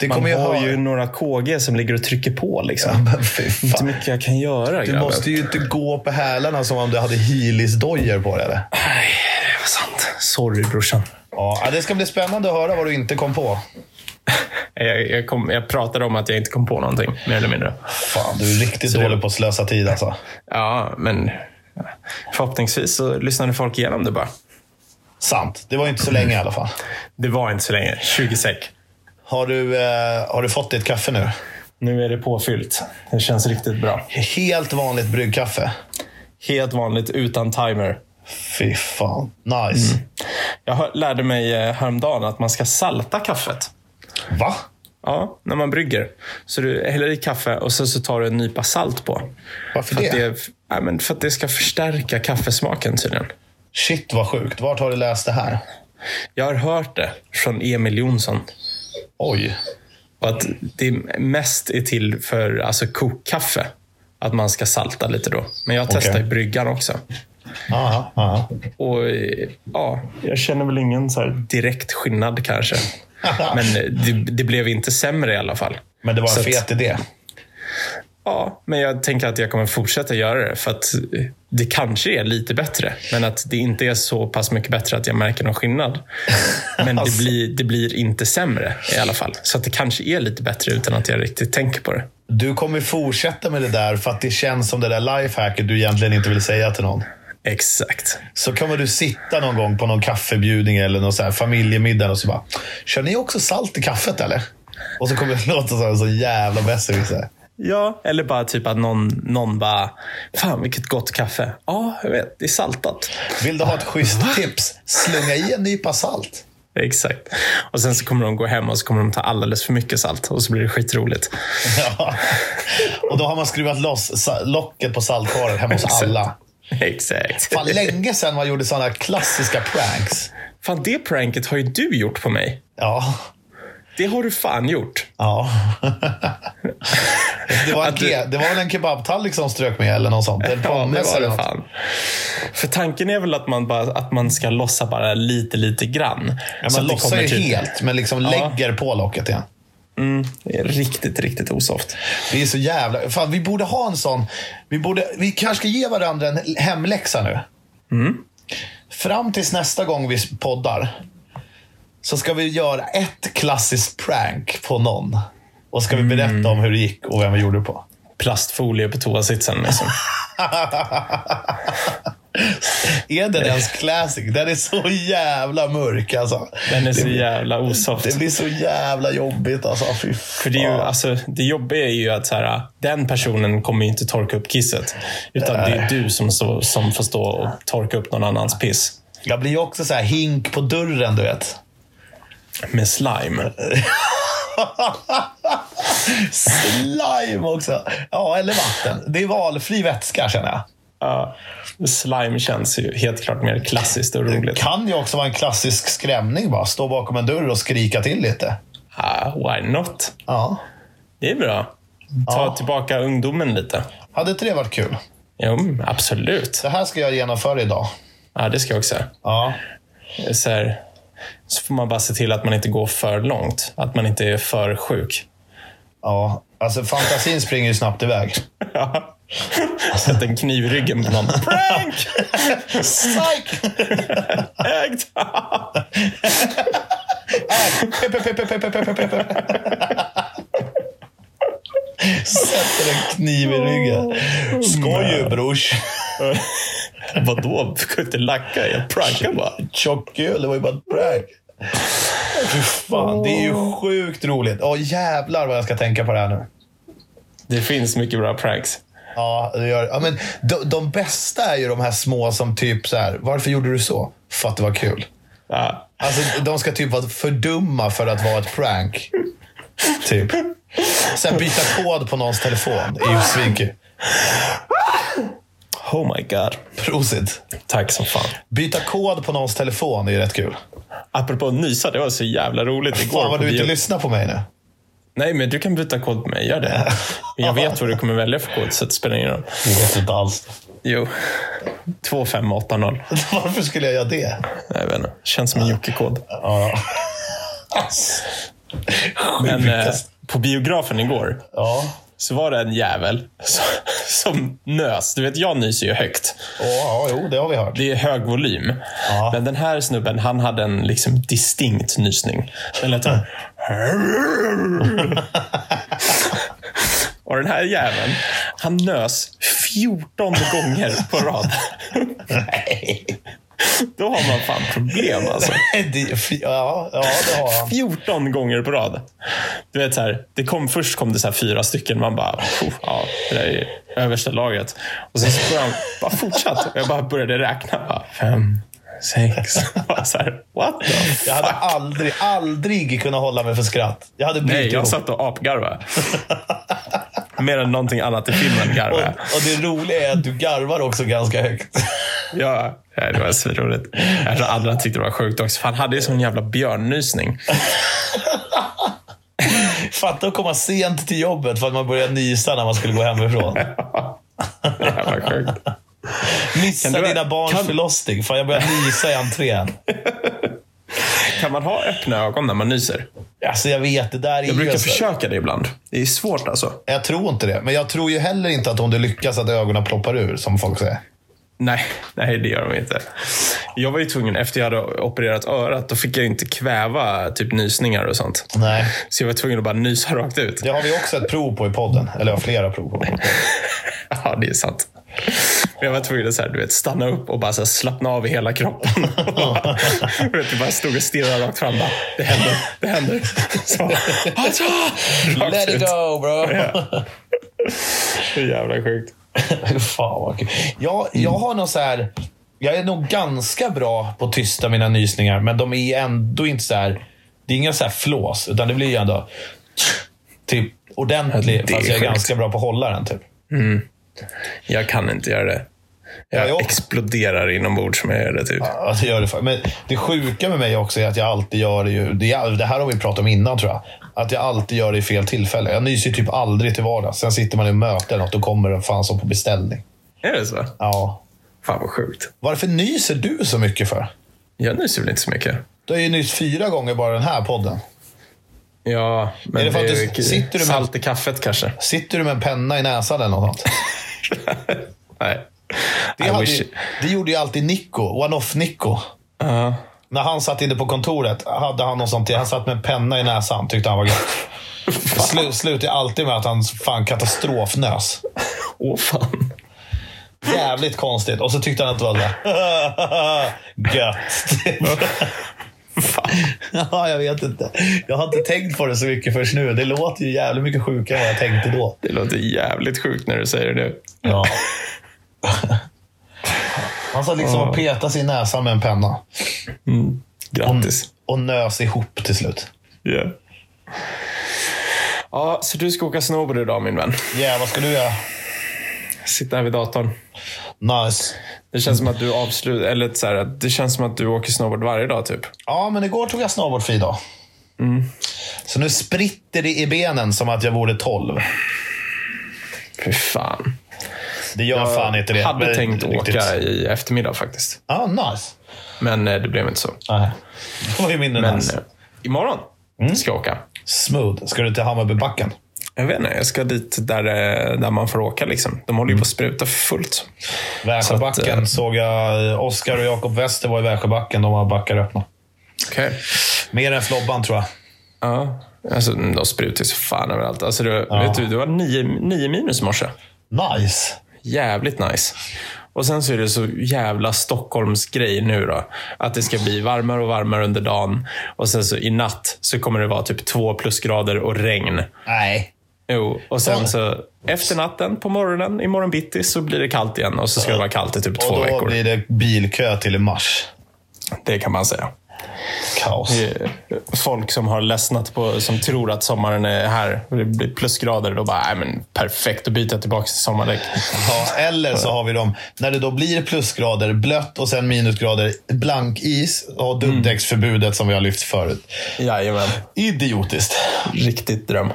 S3: Det
S2: man
S3: kommer jag
S2: har
S3: höra.
S2: ju några KG som ligger och trycker på liksom.
S3: Men fy
S2: Det är inte
S3: fan.
S2: mycket jag kan göra
S3: Du
S2: grabben.
S3: måste ju inte gå på hälarna som om du hade Heelys-dojor på dig. eller?
S2: Nej, det var sant. Sorry brorsan.
S3: Ja, det ska bli spännande att höra vad du inte kom på.
S2: Jag, jag, kom, jag pratade om att jag inte kom på någonting, mer eller mindre.
S3: Fan, du är riktigt
S2: Så det-
S3: dålig på att slösa tid alltså.
S2: Ja, men förhoppningsvis så lyssnade folk igenom det bara.
S3: Sant. Det var ju inte så länge i alla fall.
S2: Det var inte så länge. 20 säck.
S3: Har du, eh, har du fått ditt kaffe nu?
S2: Nu är det påfyllt. Det känns riktigt bra.
S3: Helt vanligt bryggkaffe.
S2: Helt vanligt utan timer.
S3: Fy fan. Nice.
S2: Mm. Jag hör- lärde mig eh, häromdagen att man ska salta kaffet.
S3: Va?
S2: Ja, när man brygger. Så du häller i kaffe och sen så tar du en nypa salt på.
S3: Varför
S2: För
S3: det?
S2: att det, ja, men för att det ska förstärka kaffesmaken tydligen.
S3: Shit vad sjukt. Vart har du läst det här?
S2: Jag har hört det från Emil Jonsson.
S3: Oj.
S2: Och att det mest är till för alltså, kokkaffe. Att man ska salta lite då. Men jag testar
S3: Okej.
S2: i bryggan också.
S3: Aha, aha.
S2: Och eh, ja, Jag känner väl ingen så direkt skillnad kanske. Men eh, det, det blev inte sämre i alla fall.
S3: Men det var
S2: Så
S3: en
S2: att-
S3: fet idé.
S2: Ja, men jag tänker att jag kommer fortsätta göra det. För att eh, det kanske är lite bättre. Men att det inte är så pass mycket bättre att jag märker någon skillnad. Men det blir, det blir inte sämre i alla fall. Så att det kanske är lite bättre utan att jag riktigt tänker på det.
S3: Du kommer fortsätta med det där för att det känns som det där lifehacket du egentligen inte vill säga till någon.
S2: Exakt.
S3: Så kommer du sitta någon gång på någon kaffebjudning eller någon så här familjemiddag och så bara Kör ni också salt i kaffet eller? Och så kommer det låta som en så jävla besserwisser.
S2: Ja, eller bara typ att någon, någon bara, fan vilket gott kaffe. Ja, jag vet, det är saltat.
S3: Vill du ha ett schysst tips? Slunga i en nypa salt.
S2: Exakt. Och sen så kommer de gå hem och så kommer de ta alldeles för mycket salt och så blir det skitroligt.
S3: Ja. Och då har man skruvat loss sa- locket på saltkaren hemma hos alla.
S2: Exakt.
S3: Fan, länge sedan man gjorde sådana klassiska pranks.
S2: Fan, det pranket har ju du gjort på mig.
S3: Ja.
S2: Det har du fan gjort.
S3: Ja. Det var, en
S2: Att du-
S3: ke- det var väl en kebabtallrik som strök med eller något sånt? En pommes eller något.
S2: fan. För tanken är väl att man, bara, att man ska lossa bara lite, lite grann.
S3: Ja, man lossar ju
S2: typ-
S3: helt, men liksom lägger på locket igen.
S2: Riktigt, riktigt osoft.
S3: Vi är så jävla... Fan, vi borde ha en sån... Vi, borde, vi kanske ska ge varandra en hemläxa nu.
S2: Mm.
S3: Fram tills nästa gång vi poddar så ska vi göra ett klassiskt prank på någon. Och ska vi
S2: Mm.
S3: berätta om hur det gick och vem vi gjorde det på.
S2: Plastfolie på toasitsen. Liksom.
S3: Är den ens classic? Den är så jävla mörk alltså.
S2: Den är så jävla osoft.
S3: Det blir så jävla jobbigt alltså. Fy
S2: För det, är ju, alltså, det jobbiga är ju att så här, den personen kommer ju inte torka upp kisset. Utan det är du som, så, som får stå och torka upp någon annans piss.
S3: Jag blir ju också så här hink på dörren, du vet.
S2: Med slime.
S3: Slime också. Ja, eller vatten. Det är valfri vätska känner jag.
S2: Ja, slime känns ju helt klart mer klassiskt och roligt.
S3: Kan ju också vara en klassisk skrämning bara. Stå bakom en dörr och skrika till lite.
S2: Ah, why not?
S3: Ja.
S2: Det är bra. Ta
S3: Ja.
S2: tillbaka ungdomen lite.
S3: Hade inte det varit kul?
S2: Jo, absolut.
S3: Det här ska jag genomföra idag.
S2: Ja, det ska jag också.
S3: Ja.
S2: Så, här, så får man bara se till att man inte går för långt. Att man inte är för sjuk.
S3: Ja. Alltså fantasin springer ju snabbt iväg.
S2: Ja. Sätt en kniv i ryggen på någon. Prank!
S3: Psych!
S2: Ägt!
S3: Sätter en kniv i ryggen. Skoj ju brors.
S2: Vadå? Du kan inte lacka. Jag prankar bara.
S3: Tjock öl, det var ju bara ett prank. Fy fan, det är ju sjukt roligt. Åh jävlar vad jag ska tänka på det här nu.
S2: Det finns mycket bra pranks.
S3: Ja, det gör, ja men de, de bästa är ju de här små som typ så här. Varför gjorde du så? För att det var kul.
S2: Ja.
S3: Alltså, de ska typ vara för dumma för att vara ett prank. Typ. Sen byta kod på någons telefon. Det är ju svinkul.
S2: Oh my god.
S3: Prosit.
S2: Tack som fan.
S3: Byta kod på någons telefon är ju rätt kul.
S2: Apropå nysa, det var så jävla roligt igår.
S3: Fan vad
S2: på
S3: du inte
S2: bio.
S3: lyssnar på mig nu.
S2: Nej, men du kan byta kod på mig. Gör det. Jag vet vad du kommer välja för kod, så det spelar ingen roll.
S3: Jag vet inte alls.
S2: Jo. 2580.
S3: Varför skulle jag göra det?
S2: Jag vet inte. Känns som en Jocke-kod. Men eh,
S3: Sjukast.
S2: på biografen igår
S3: eh, Ja.
S2: så var det en jävel som, som nös. Du vet, jag nyser ju högt.
S3: Ja, jo, det har vi hört.
S2: Det är hög volym.
S3: Ja.
S2: Men den här snubben, han hade en liksom distinkt nysning. Den lät såhär. Och den här jäveln, han nös 14 gånger på rad.
S3: Nej.
S2: Då har man fan problem alltså.
S3: Det- Ja, ja, det har han.
S2: 14 gånger på rad. Du vet så här, det kom, först kom det så här fyra stycken. Man bara, "Puh, ja, det där är översta laget. Och sen så började han bara fortsätta. Jag bara började räkna. Bara, fem, sex. Bara så här, what the fuck?
S3: Jag hade aldrig, aldrig kunnat hålla mig för skratt. Jag hade brutit
S2: Nej, jag
S3: ihop.
S2: satt och apgarvade. Mer än någonting annat i filmen
S3: Och,
S2: garvade
S3: och det roliga är att du garvar också ganska högt.
S2: jag. ja, ja, det var svinroligt. Jag tror andra tyckte det var sjukt också. för Han hade ju sån jävla björnnysning.
S3: Fatta att komma sent till jobbet för att man började nysa när man skulle gå hemifrån.
S2: Det här var sjukt.
S3: Missa
S2: Kan du-
S3: dina barns
S2: kan-
S3: förlossning. Fan, jag började nysa i entrén.
S2: Kan man ha öppna ögon när man nyser?
S3: Alltså, jag vet, det där är
S2: Jag brukar
S3: ju... så-
S2: försöka det ibland. Det är svårt alltså.
S3: Jag tror inte det. Men jag tror ju heller inte att om du lyckas att ögonen ploppar ur, som folk säger.
S2: Nej, nej, det gör de inte. Jag var ju tvungen, efter jag hade opererat örat, då fick jag ju inte kväva typ nysningar och sånt.
S3: Nej.
S2: Så jag var tvungen att bara nysa rakt ut.
S3: Det har vi också ett prov på i podden. Eller jag har flera prov på.
S2: Ja, det är sant. Men jag var tvungen att så här, du vet, stanna upp och bara så här, slappna av i hela kroppen. Och bara, du vet, jag bara stod och stirrade rakt fram. Bara, det händer, det händer. Så, alltså, rakt
S3: Let it
S2: ut.
S3: go, bro!
S2: Det är jävla sjukt.
S3: Fan vad kul. Jag, jag har nog så här... Jag är nog ganska bra på att tysta mina nysningar, men de är ändå inte så här... Det är ingen så här flås, utan det blir ju ändå typ
S2: Ja,
S3: ordentlig,
S2: det är
S3: fast jag är
S2: sjukt.
S3: ganska bra på att hålla den. Typ.
S2: Jag kan inte göra det.
S3: Ja,
S2: Jag
S3: jag-
S2: exploderar inombords som jag gör det. Typ.
S3: Ja, det gör det. fan. Men det sjuka med mig också är att jag alltid gör det ju... Det, är- det här har vi pratat om innan tror jag. Att jag alltid gör det i fel tillfälle. Jag nyser ju typ aldrig till vardags. Sen sitter man i möte eller något och kommer det fan som på beställning.
S2: Är det så?
S3: Ja.
S2: Fan vad sjukt.
S3: Varför nyser du så mycket för?
S2: Jag nyser väl inte så mycket.
S3: Du har ju nyss fyra gånger bara den här podden.
S2: Ja, men
S3: Är det för att du-
S2: ju kul.
S3: sitter du med-
S2: salt i kaffet kanske.
S3: Sitter du med en penna i näsan eller något sånt?
S2: Nej.
S3: Det,
S2: I
S3: hade,
S2: wish.
S3: ju- det gjorde ju alltid Nico. One-off-Nico.
S2: Ja.
S3: När han satt inne på kontoret hade han något sånt. Han satt med en penna i näsan. Tyckte han var gött. Slu, slutade alltid med att han fan katastrofnös.
S2: Åh fan.
S3: Jävligt konstigt. Och så tyckte han att det var sådär. Gött.
S2: fan.
S3: ja, jag vet inte. Jag har inte tänkt på det så mycket förrän nu. Det låter ju jävligt mycket sjukare än vad jag tänkte då.
S2: Det låter jävligt sjukt när du säger det nu.
S3: Ja. Han satt liksom och petade sig i näsan med en penna.
S2: Grattis.
S3: Och nös ihop till slut.
S2: Ja. Ja, så du ska åka snowboard idag min vän.
S3: Ja, vad ska du göra?
S2: Sitta här vid datorn.
S3: Nice.
S2: Det känns som att du avslutar, eller så här, att det känns som att du åker snowboard varje dag typ.
S3: Ja, men igår tog jag snowboardfri idag.
S2: Mm.
S3: Så nu spritter det i benen som att jag vore 12.
S2: Fy fan.
S3: Det gör fan inte det.
S2: Jag hade
S3: Men
S2: tänkt
S3: riktigt.
S2: åka i eftermiddag faktiskt.
S3: Ja, Ah, nice.
S2: Men eh, det blev inte så.
S3: Nej. Det var ju mindre
S2: Men
S3: nice.
S2: eh, imorgon
S3: Mm.
S2: ska jag åka.
S3: Smooth. Ska du till Hammarbybacken?
S2: Jag vet inte, jag ska dit där, eh, där man får åka. Liksom. De håller ju på att
S3: Mm.
S2: spruta fullt. Så att,
S3: Värsjöbacken
S2: eh,
S3: såg jag. Oskar och Jakob Wester var i Värsjöbacken. De har backar öppna.
S2: Okej.
S3: Mer än Flobban tror jag.
S2: Ja. Alltså, de sprutar ju så fan överallt. Alltså, det, vet du, det var nio, nio minus i morse.
S3: Nice.
S2: Jävligt nice. Och sen så är det så jävla Stockholmsgrej nu då. Att det ska bli varmare och varmare under dagen. Och sen så i natt så kommer det vara typ två plusgrader och regn.
S3: Nej.
S2: Jo, och sen så efter natten på morgonen, imorgon bitti, så blir det kallt igen. Och så ska det vara kallt i typ två
S3: Och då
S2: veckor.
S3: blir det bilkö till i mars.
S2: Det kan man säga.
S3: Kaos.
S2: Eh, folk som har ledsnat på, som tror att sommaren är här och det blir plusgrader. Då bara, nej men perfekt, att byta tillbaka till sommardäck.
S3: Ja, eller så har vi dem, när det då blir plusgrader, blött och sen minusgrader, blank is och
S2: Mm.
S3: dubbdäcksförbudet som vi har lyft förut.
S2: Jajamän,
S3: Idiotiskt.
S2: riktigt dröm.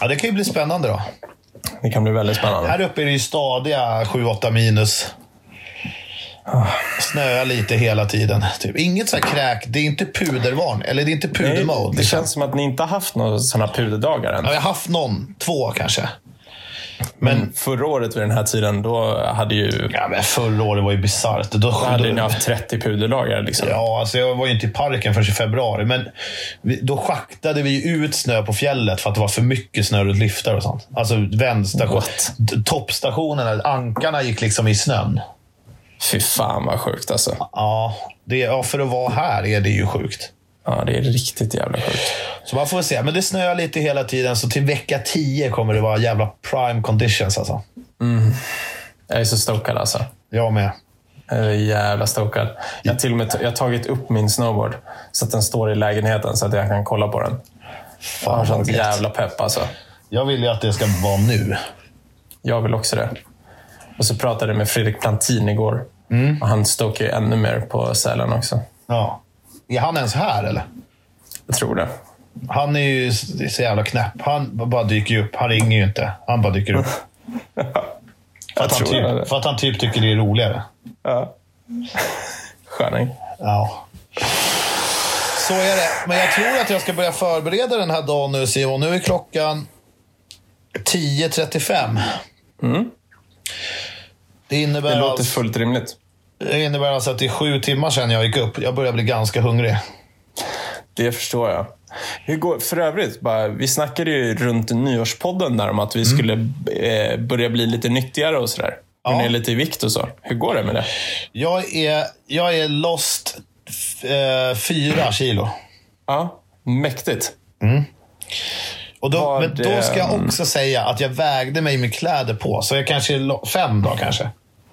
S3: Ja, det kan ju bli spännande då.
S2: Det kan bli väldigt spännande.
S3: Här uppe är det ju stadiga 7-8 minus. Snöar lite hela tiden. Typ. Inget så här kräk. Det är inte pudervarn. Eller det är inte
S2: Det,
S3: pudermode.
S2: det
S3: liksom.
S2: känns som att ni inte har haft några sådana puderdagar än.
S3: Ja, Jag har haft någon. Två kanske.
S2: Men förra året vid den här tiden, då hade ju
S3: Ja, men förra året var ju bisarrt. Då,
S2: då hade ni
S3: då,
S2: haft 30 puderdagar. Liksom.
S3: ja, alltså jag var ju inte i parken förrän i februari, men vi, då schaktade vi ju ut snö på fjället för att det var för mycket snö runt liftar och sånt. Alltså vändstation.
S2: What?
S3: t- Toppstationerna, ankarna gick liksom i snön.
S2: Fy fan vad sjukt alltså.
S3: Ja, det, ja, för att vara här är det ju sjukt.
S2: Ja, det är riktigt jävla sjukt.
S3: Så man får väl se. Men det snöar lite hela tiden, så till vecka 10 kommer det vara jävla prime conditions alltså.
S2: Jag är så stokad alltså.
S3: Jag med.
S2: Jag är Eh, jävla stokad. Jag har till och med jag har tagit upp min snowboard så att den står i lägenheten så att jag kan kolla på den. Jag har
S3: vad
S2: sånt
S3: gött.
S2: jävla pepp alltså.
S3: Jag vill ju att det ska vara nu.
S2: Jag vill också det. Och så pratade jag med Fredrik Plantin igår.
S3: Mm.
S2: Och han stokar ju ännu mer på Sälen också.
S3: Ja. Är han ens här eller?
S2: Jag tror det.
S3: Han är ju så så jävla knäpp. Han bara dyker ju upp. Han ringer ju inte. Han bara dyker upp. För
S2: Jag
S3: att, han
S2: tror det.
S3: typ, för att han typ tycker det är roligare.
S2: Ja. Sköning.
S3: Ja. Så är det. Men jag tror att jag ska börja förbereda den här dagen nu Simon. Nu är klockan 10.35. Det innebär,
S2: Mm. Det låter
S3: alltså,
S2: fullt rimligt.
S3: det innebär alltså att det är sju timmar sedan jag gick upp. Jag börjar bli ganska hungrig.
S2: Det förstår jag. Hur går, för övrigt, bara, vi snackade ju runt nyårspodden där om att vi
S3: Mm.
S2: skulle eh, börja bli lite nyttigare och sådär. Gå
S3: Ja.
S2: ner lite i vikt och så. Hur går det med det?
S3: Jag är, jag är lost f- eh, fyra kilo.
S2: Ja, mäktigt.
S3: Och då,
S2: Vad,
S3: men då ska jag
S2: ehm,
S3: också säga att jag vägde mig med kläder på, så jag kanske är lo- fem då kanske.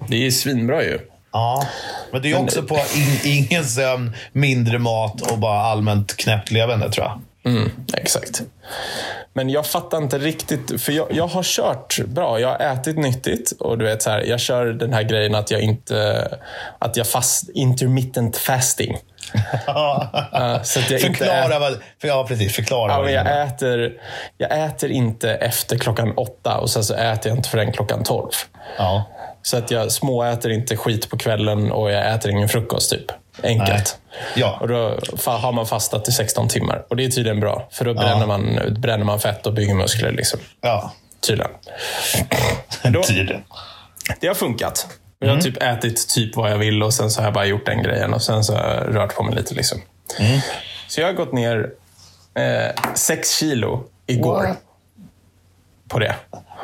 S2: Det är ju svinbra ju.
S3: Ja, men det är också på in, ingen sömn, mindre mat och bara allmänt knäppt levande tror jag.
S2: Mm, exakt. Men jag fattar inte riktigt, för jag, jag har kört bra. Jag har ätit nyttigt och du vet, så här, jag kör den här grejen att jag inte... Att jag fast... Intermittent fasting. Eh, så att jag inte äter-
S3: Förklara vad... För, ja, precis. Förklara
S2: Ja,
S3: vad
S2: men
S3: det innebär.
S2: jag, äter, jag äter inte efter klockan åtta och sen så äter jag inte förrän klockan tolv.
S3: ja.
S2: Så att jag småäter inte skit på kvällen och jag äter ingen frukost. typ. Enkelt.
S3: Ja.
S2: Och då fa- har man fastat i 16 timmar. Och det är tydligen bra, för då bränner, man, bränner man fett och bygger muskler. Liksom.
S3: ja.
S2: Tydligen. Men då,
S3: Tiden.
S2: det har funkat. Jag har typ ätit typ vad jag vill och sen så har jag bara gjort den grejen och sen så har jag rört på mig lite. liksom.
S3: Mm.
S2: Så jag har gått ner eh, sex kilo igår
S3: What?
S2: på det.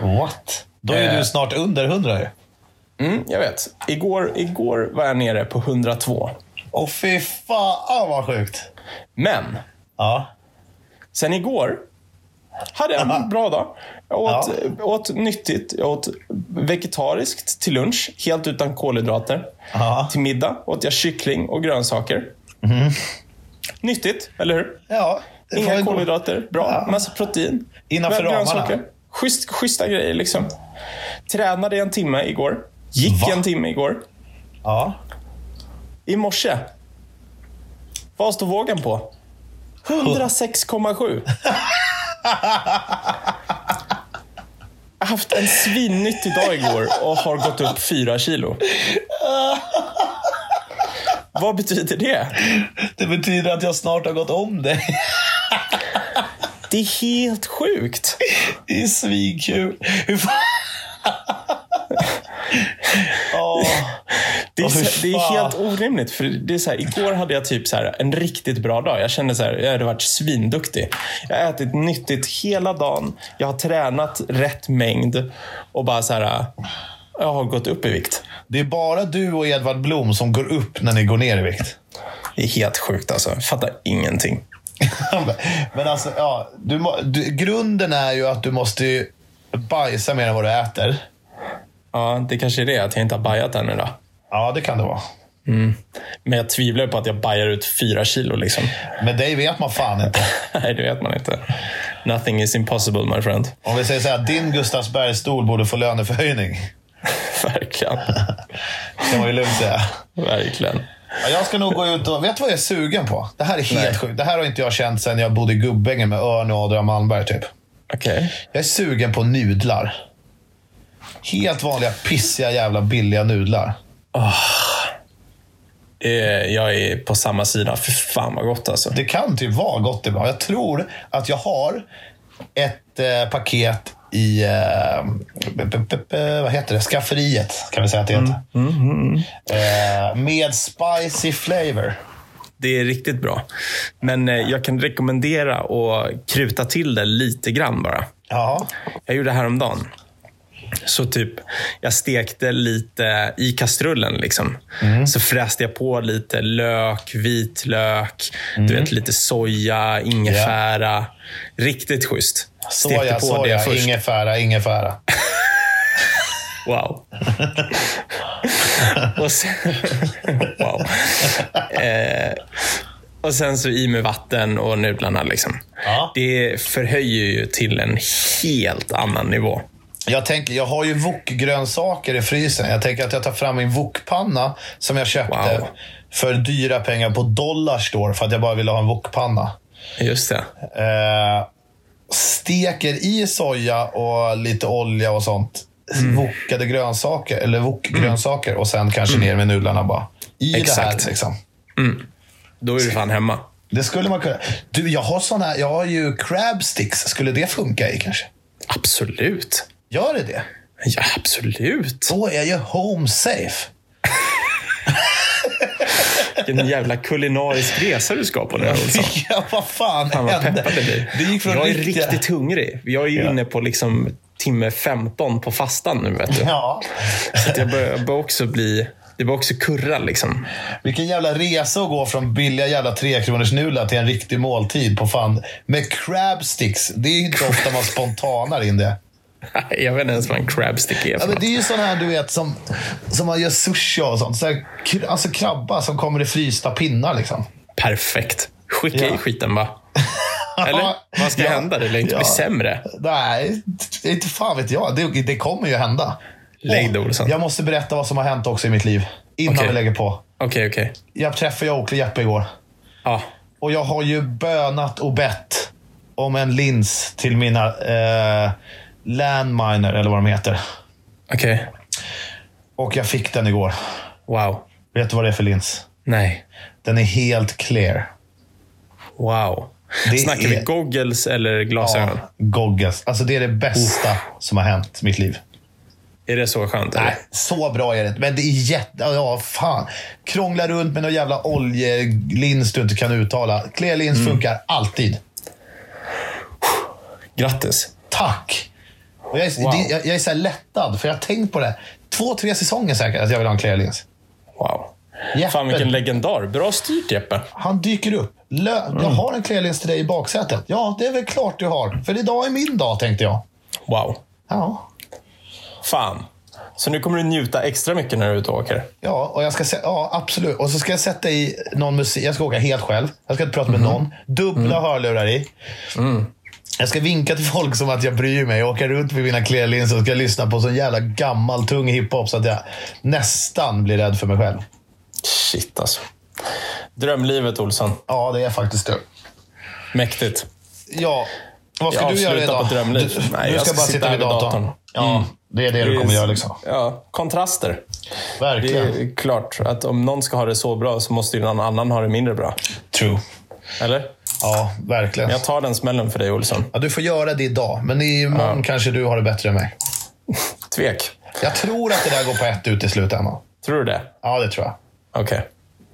S3: What? Då är
S2: Eh.
S3: du snart under 100 ju.
S2: Mm, jag vet. Igår, igår var jag nere på 102.
S3: Åh, fy fan vad sjukt.
S2: Men
S3: Ja.
S2: sen igår hade jag en bra dag. Jag åt, åt nyttigt. Jag åt vegetariskt till lunch, helt utan kolhydrater.
S3: Ja.
S2: Till middag åt jag kyckling och grönsaker. Nyttigt, eller hur?
S3: ja. Mhm. det får
S2: Inga
S3: väl gå.
S2: kolhydrater, bra. Massa protein.
S3: Innanför
S2: Grön- grönsaker.
S3: ramarna.
S2: Schysst, schyssta grejer liksom. Tränade i en timme igår. Gick
S3: Va?
S2: en timme igår.
S3: Ja.
S2: I morse. Vad står vågen på? 106,7. Jag har haft en svinnyttig dag igår och har gått upp fyra kilo. Vad betyder det?
S3: Det betyder att jag snart har gått om dig.
S2: Det är helt sjukt.
S3: Det är svinkul. Hur fan... Åh.
S2: Det är,
S3: Åh, fy
S2: så, det är
S3: fan.
S2: helt orimligt. För det är så här, igår hade jag typ så här, en riktigt bra dag. Jag kände så här, jag hade varit svinduktig. Jag har ätit nyttigt hela dagen. Jag har tränat rätt mängd och bara så här, jag har gått upp i vikt.
S3: Det är bara du och Edvard Blom som går upp när ni går ner i vikt.
S2: Det är helt sjukt alltså. Jag fattar ingenting.
S3: Men alltså, ja, du, må- du, grunden är ju att du måste ju bajsa mer än vad du äter.
S2: Ja, det kanske är det att jag inte har bajat ännu då.
S3: Ja, det kan det vara.
S2: Men jag tvivlar ju på att jag bajar ut fyra kilo liksom.
S3: Men dig vet man fan inte.
S2: Nej, det vet man inte. Nothing is impossible my friend.
S3: Om vi säger så här, din Gustavsbergsstol borde få löneförhöjning.
S2: Verkligen.
S3: kan man ju lugnt säga.
S2: Verkligen.
S3: Ja, jag ska nog gå ut och... Vet du vad jag är sugen på? Det här är
S2: Nej.
S3: helt sjukt. Det här har inte jag känt sedan jag bodde i Gubbängen med Örn och Adrian Malmberg typ.
S2: Okej.
S3: Jag är sugen på nudlar. Helt vanliga, pissiga, jävla billiga nudlar.
S2: Eh, Jag är på samma sida. Fy fan vad gott alltså.
S3: Det kan typ vara gott ibland. Jag tror att jag har ett eh, paket i eh, b- b- b- b- vad heter det? skafferiet, kan vi säga att det heter.
S2: Mm,
S3: Eh, med spicy flavor.
S2: Det är riktigt bra. Men eh, jag kan rekommendera att kruta till det lite grann bara.
S3: Ja.
S2: Jag gjorde det häromdagen. Så typ, jag stekte lite i kastrullen. Liksom. Så fräste jag på lite lök, vitlök, du vet, lite soja, ingefära. Riktigt schysst. Stekte
S3: Soja,
S2: på
S3: soja,
S2: det först.
S3: ingefära, ingefära.
S2: Wow. och sen, wow. Eh, och sen så i med vatten och nudlarna. Liksom.
S3: Ja.
S2: Det förhöjer ju till en helt annan nivå.
S3: Jag, tänker, jag har ju wokgrönsaker i frysen. Jag tänker att jag tar fram min wokpanna som jag köpte
S2: Wow.
S3: för dyra pengar på Dollarstore för att jag bara ville ha en wokpanna.
S2: Just det.
S3: Eh, steker i soja och lite olja och sånt.
S2: Mm.
S3: Wokade grönsaker, eller wokgrönsaker och sen kanske ner med nudlarna bara. I det
S2: Mm. Exakt.
S3: här liksom.
S2: Då är du fan hemma.
S3: Det skulle man kunna. Du, jag har såna här, jag har ju crab sticks. Skulle det funka i kanske?
S2: Absolut.
S3: Gör det det?
S2: Ja, absolut.
S3: Då är jag ju home safe.
S2: Vilken jävla kulinarisk resa du ska på nu, Olsson.
S3: Ja, vad fan,
S2: Fan vad
S3: hände?
S2: peppad det blir.
S3: Det gick från
S2: Jag är
S3: riktiga-
S2: riktigt hungrig. Jag är ju inne på liksom timme 15 på fastan nu, vet du.
S3: Ja.
S2: Så att jag bör- jag börjar också bli... Det börjar också kurra liksom.
S3: Vilken jävla resa att gå från billiga jävla trekronorsnudlar till en riktig måltid på fan. Med crab sticks. Det är ju inte ofta man spontanar in det.
S2: Jag vet inte ens vad en crab stick är.
S3: Ja,
S2: för
S3: men
S2: något.
S3: det är ju sån här du vet som, som man gör sushi av och sånt. Så här, kr- alltså krabba som kommer i frysta pinnar liksom.
S2: Perfekt. Skicka
S3: Ja.
S2: i skiten va? Eller? Vad ska
S3: Ja.
S2: hända? Det lär inte
S3: Ja.
S2: bli sämre.
S3: Nej, det- inte fan vet jag. Det, det kommer ju hända.
S2: Lägg det,
S3: Och
S2: Olsson.
S3: Jag måste berätta vad som har hänt också i mitt liv. Innan
S2: Okej.
S3: vi lägger på.
S2: Okej, okej.
S3: Jag träffade ju Oakley Jeppe igår.
S2: Ja.
S3: Och jag har ju bönat och bett om en lins till mina eh, landminer, eller vad de heter.
S2: Okej.
S3: Och jag fick den igår.
S2: Wow.
S3: Vet du vad det är för lins?
S2: Nej.
S3: Den är helt clear.
S2: Wow.
S3: Det
S2: Snackar
S3: är-
S2: vi goggles eller glasögon?
S3: Goggles. Alltså det är det bästa som har hänt mitt liv.
S2: Är det så skönt? eller?
S3: Nej, så bra är det inte. Men det är jätte... Ja, fan. Krångla runt med någon jävla oljelins du inte kan uttala. Clear lins funkar alltid.
S2: Grattis.
S3: Tack! Och jag, är,
S2: Wow.
S3: det, jag, jag är så här lättad, för jag har tänkt på det. Två, tre säsonger säkert att jag vill ha en clear lins.
S2: Wow.
S3: Jeppe.
S2: Fan vilken legendar. Bra styrt Jeppe.
S3: Han dyker upp. Lö,
S2: Mm.
S3: Jag har en clear lins till dig i baksätet. Ja, det är väl klart du har. För idag är min dag, tänkte jag.
S2: Wow.
S3: Ja,
S2: Fan. Så nu kommer du njuta extra mycket när du är ute och åker?
S3: Ja, och jag ska sä- ja, absolut. Och så ska jag sätta i någon musik. Jag ska åka helt själv. Jag ska inte prata
S2: Mhm.
S3: med någon. Dubbla
S2: Mm.
S3: hörlurar i. Jag ska vinka till folk som att jag bryr mig. Jag åker runt med mina klärlinser och ska lyssna på sån jävla gammal tung hiphop så att jag nästan blir rädd för mig själv.
S2: Shit alltså. Drömlivet Olsson.
S3: Ja, det är faktiskt det.
S2: Mäktigt.
S3: Ja, vad ska
S2: Jag
S3: du göra
S2: avslutar
S3: idag?
S2: på drömliv.
S3: Du,
S2: Nej,
S3: du
S2: jag
S3: ska,
S2: ska
S3: bara
S2: sitta
S3: sitta
S2: här
S3: vid
S2: vid
S3: datorn.
S2: datorn. Mm.
S3: Ja, det är det du kommer göra liksom.
S2: Ja, kontraster. Det
S3: Verkligen.
S2: är klart att om någon ska ha det så bra så måste ju någon annan ha det mindre bra.
S3: True.
S2: Eller?
S3: Ja, verkligen.
S2: Jag tar den smällen för dig Olsson.
S3: Ja, du får göra det idag, men imorgon kanske du har det bättre än mig.
S2: Tvek.
S3: Jag tror att det där går på ett ut i slutändan.
S2: Tror du det?
S3: Ja, det tror jag.
S2: Okej.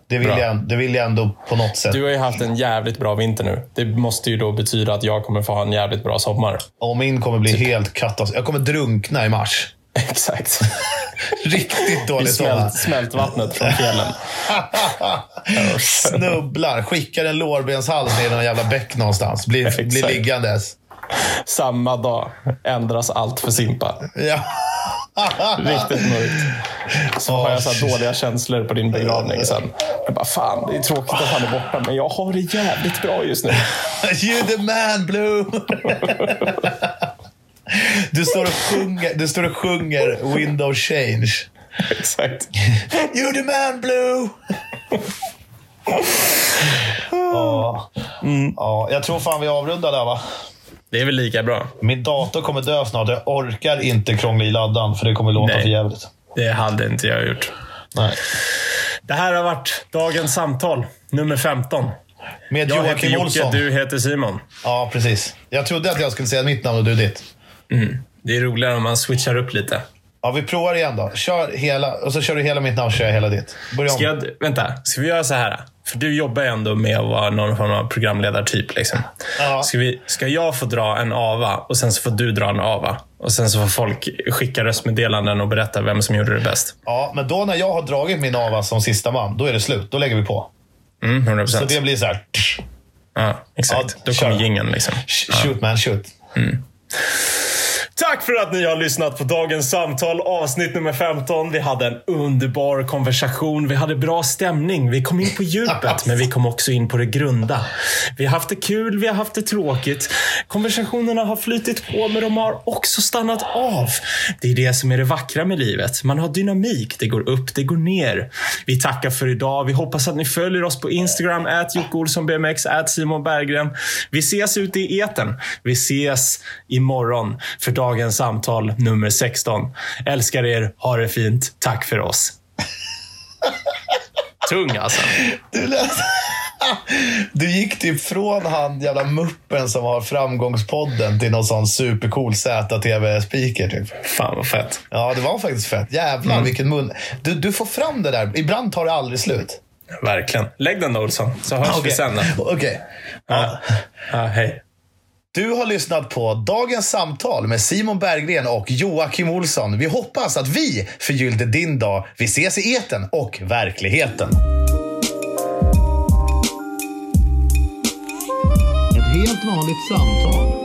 S3: Det vill,
S2: Bra.
S3: jag, det vill jag ändå på något sätt.
S2: Du har ju haft en jävligt bra vinter nu. Det måste ju då betyda att jag kommer få ha en jävligt bra sommar.
S3: Och min kommer bli
S2: Typ.
S3: helt katastrof. Jag kommer drunkna i mars.
S2: Exakt.
S3: Riktigt
S2: I
S3: dåligt sommar.
S2: smält, smältvattnet från fjällen.
S3: Snubblar, skickar en lårbenshals ner i någon jävla bäck någonstans. Blir,
S2: Exakt.
S3: blir liggandes.
S2: Samma dag ändras allt för Simpa.
S3: Ja.
S2: Riktigt mörkt. Så har jag så här dåliga känslor på din begravning sen. Jag bara, fan det är tråkigt att han är borta, men jag har det jävligt bra just nu.
S3: You the man, Blue! Du står och sjunger, du står och sjunger Window Change.
S2: Exakt.
S3: You the man, Blue! Ja, Mm. Ja, jag tror fan vi avrundar där va?
S2: Det är väl lika bra.
S3: Min dator kommer dö snart. Jag orkar inte krångla i laddan för det kommer låta
S2: Nej.
S3: för jävligt.
S2: Det hade inte jag gjort.
S3: Nej.
S2: Det här har varit dagens samtal, nummer 15.
S3: Med
S2: Jag heter
S3: Joakim
S2: Jocke,
S3: Olsson.
S2: du heter Simon.
S3: Ja, precis. Jag trodde att jag skulle säga mitt namn och du ditt.
S2: Det är roligare om man switchar upp lite.
S3: Ja, vi provar igen då. Kör hela, och så kör du hela mitt namn, kör jag hela ditt. Börja om.
S2: Ska jag, vänta, ska vi göra så här? För du jobbar ju ändå med att vara någon form av programledartyp. Liksom.
S3: Ja.
S2: Ska, vi, ska jag få dra en AVA och sen så får du dra en AVA? Och sen så får folk skicka röstmeddelanden och berätta vem som gjorde det bäst.
S3: Ja, men då när jag har dragit min Ava som sista man, då är det slut. Då lägger vi på.
S2: Mm, 100%.
S3: Så det blir så här. tsch,
S2: Ja, exakt.
S3: Ja,
S2: Då
S3: kör.
S2: kommer jingeln. Liksom.
S3: sh- Shoot man, shoot.
S2: Tack för att ni har lyssnat på dagens samtal, avsnitt nummer 15. Vi hade en underbar konversation. Vi hade bra stämning. Vi kom in på djupet, men vi kom också in på det grunda. Vi har haft det kul, vi har haft det tråkigt. Konversationerna har flytit på, men de har också stannat av. Det är det som är det vackra med livet. Man har dynamik. Det går upp, det går ner. Vi tackar för idag. Vi hoppas att ni följer oss på Instagram, at jockeolssonbmx, at Simon Berggren. Vi ses ute i etern. Vi ses imorgon för dagens samtal nummer 16. Älskar er, ha det fint. Tack för oss. Tung alltså.
S3: Du, lät... du gick typ från han jävla muppen som har framgångspodden till någon sån supercool ZTV-speaker. Typ.
S2: Fan vad fett.
S3: Ja, det var faktiskt fett. Jävlar vilken mun. Du, du får fram det där. Ibland tar det aldrig slut.
S2: Verkligen. Lägg den då Olsson, så hörs vi sen. då.
S3: Okej. Ja.
S2: Ja, hej.
S3: Du har lyssnat på Dagens samtal med Simon Berggren och Joakim Olsson. Vi hoppas att vi förgyllde din dag. Vi ses i eten och verkligheten. Ett helt vanligt samtal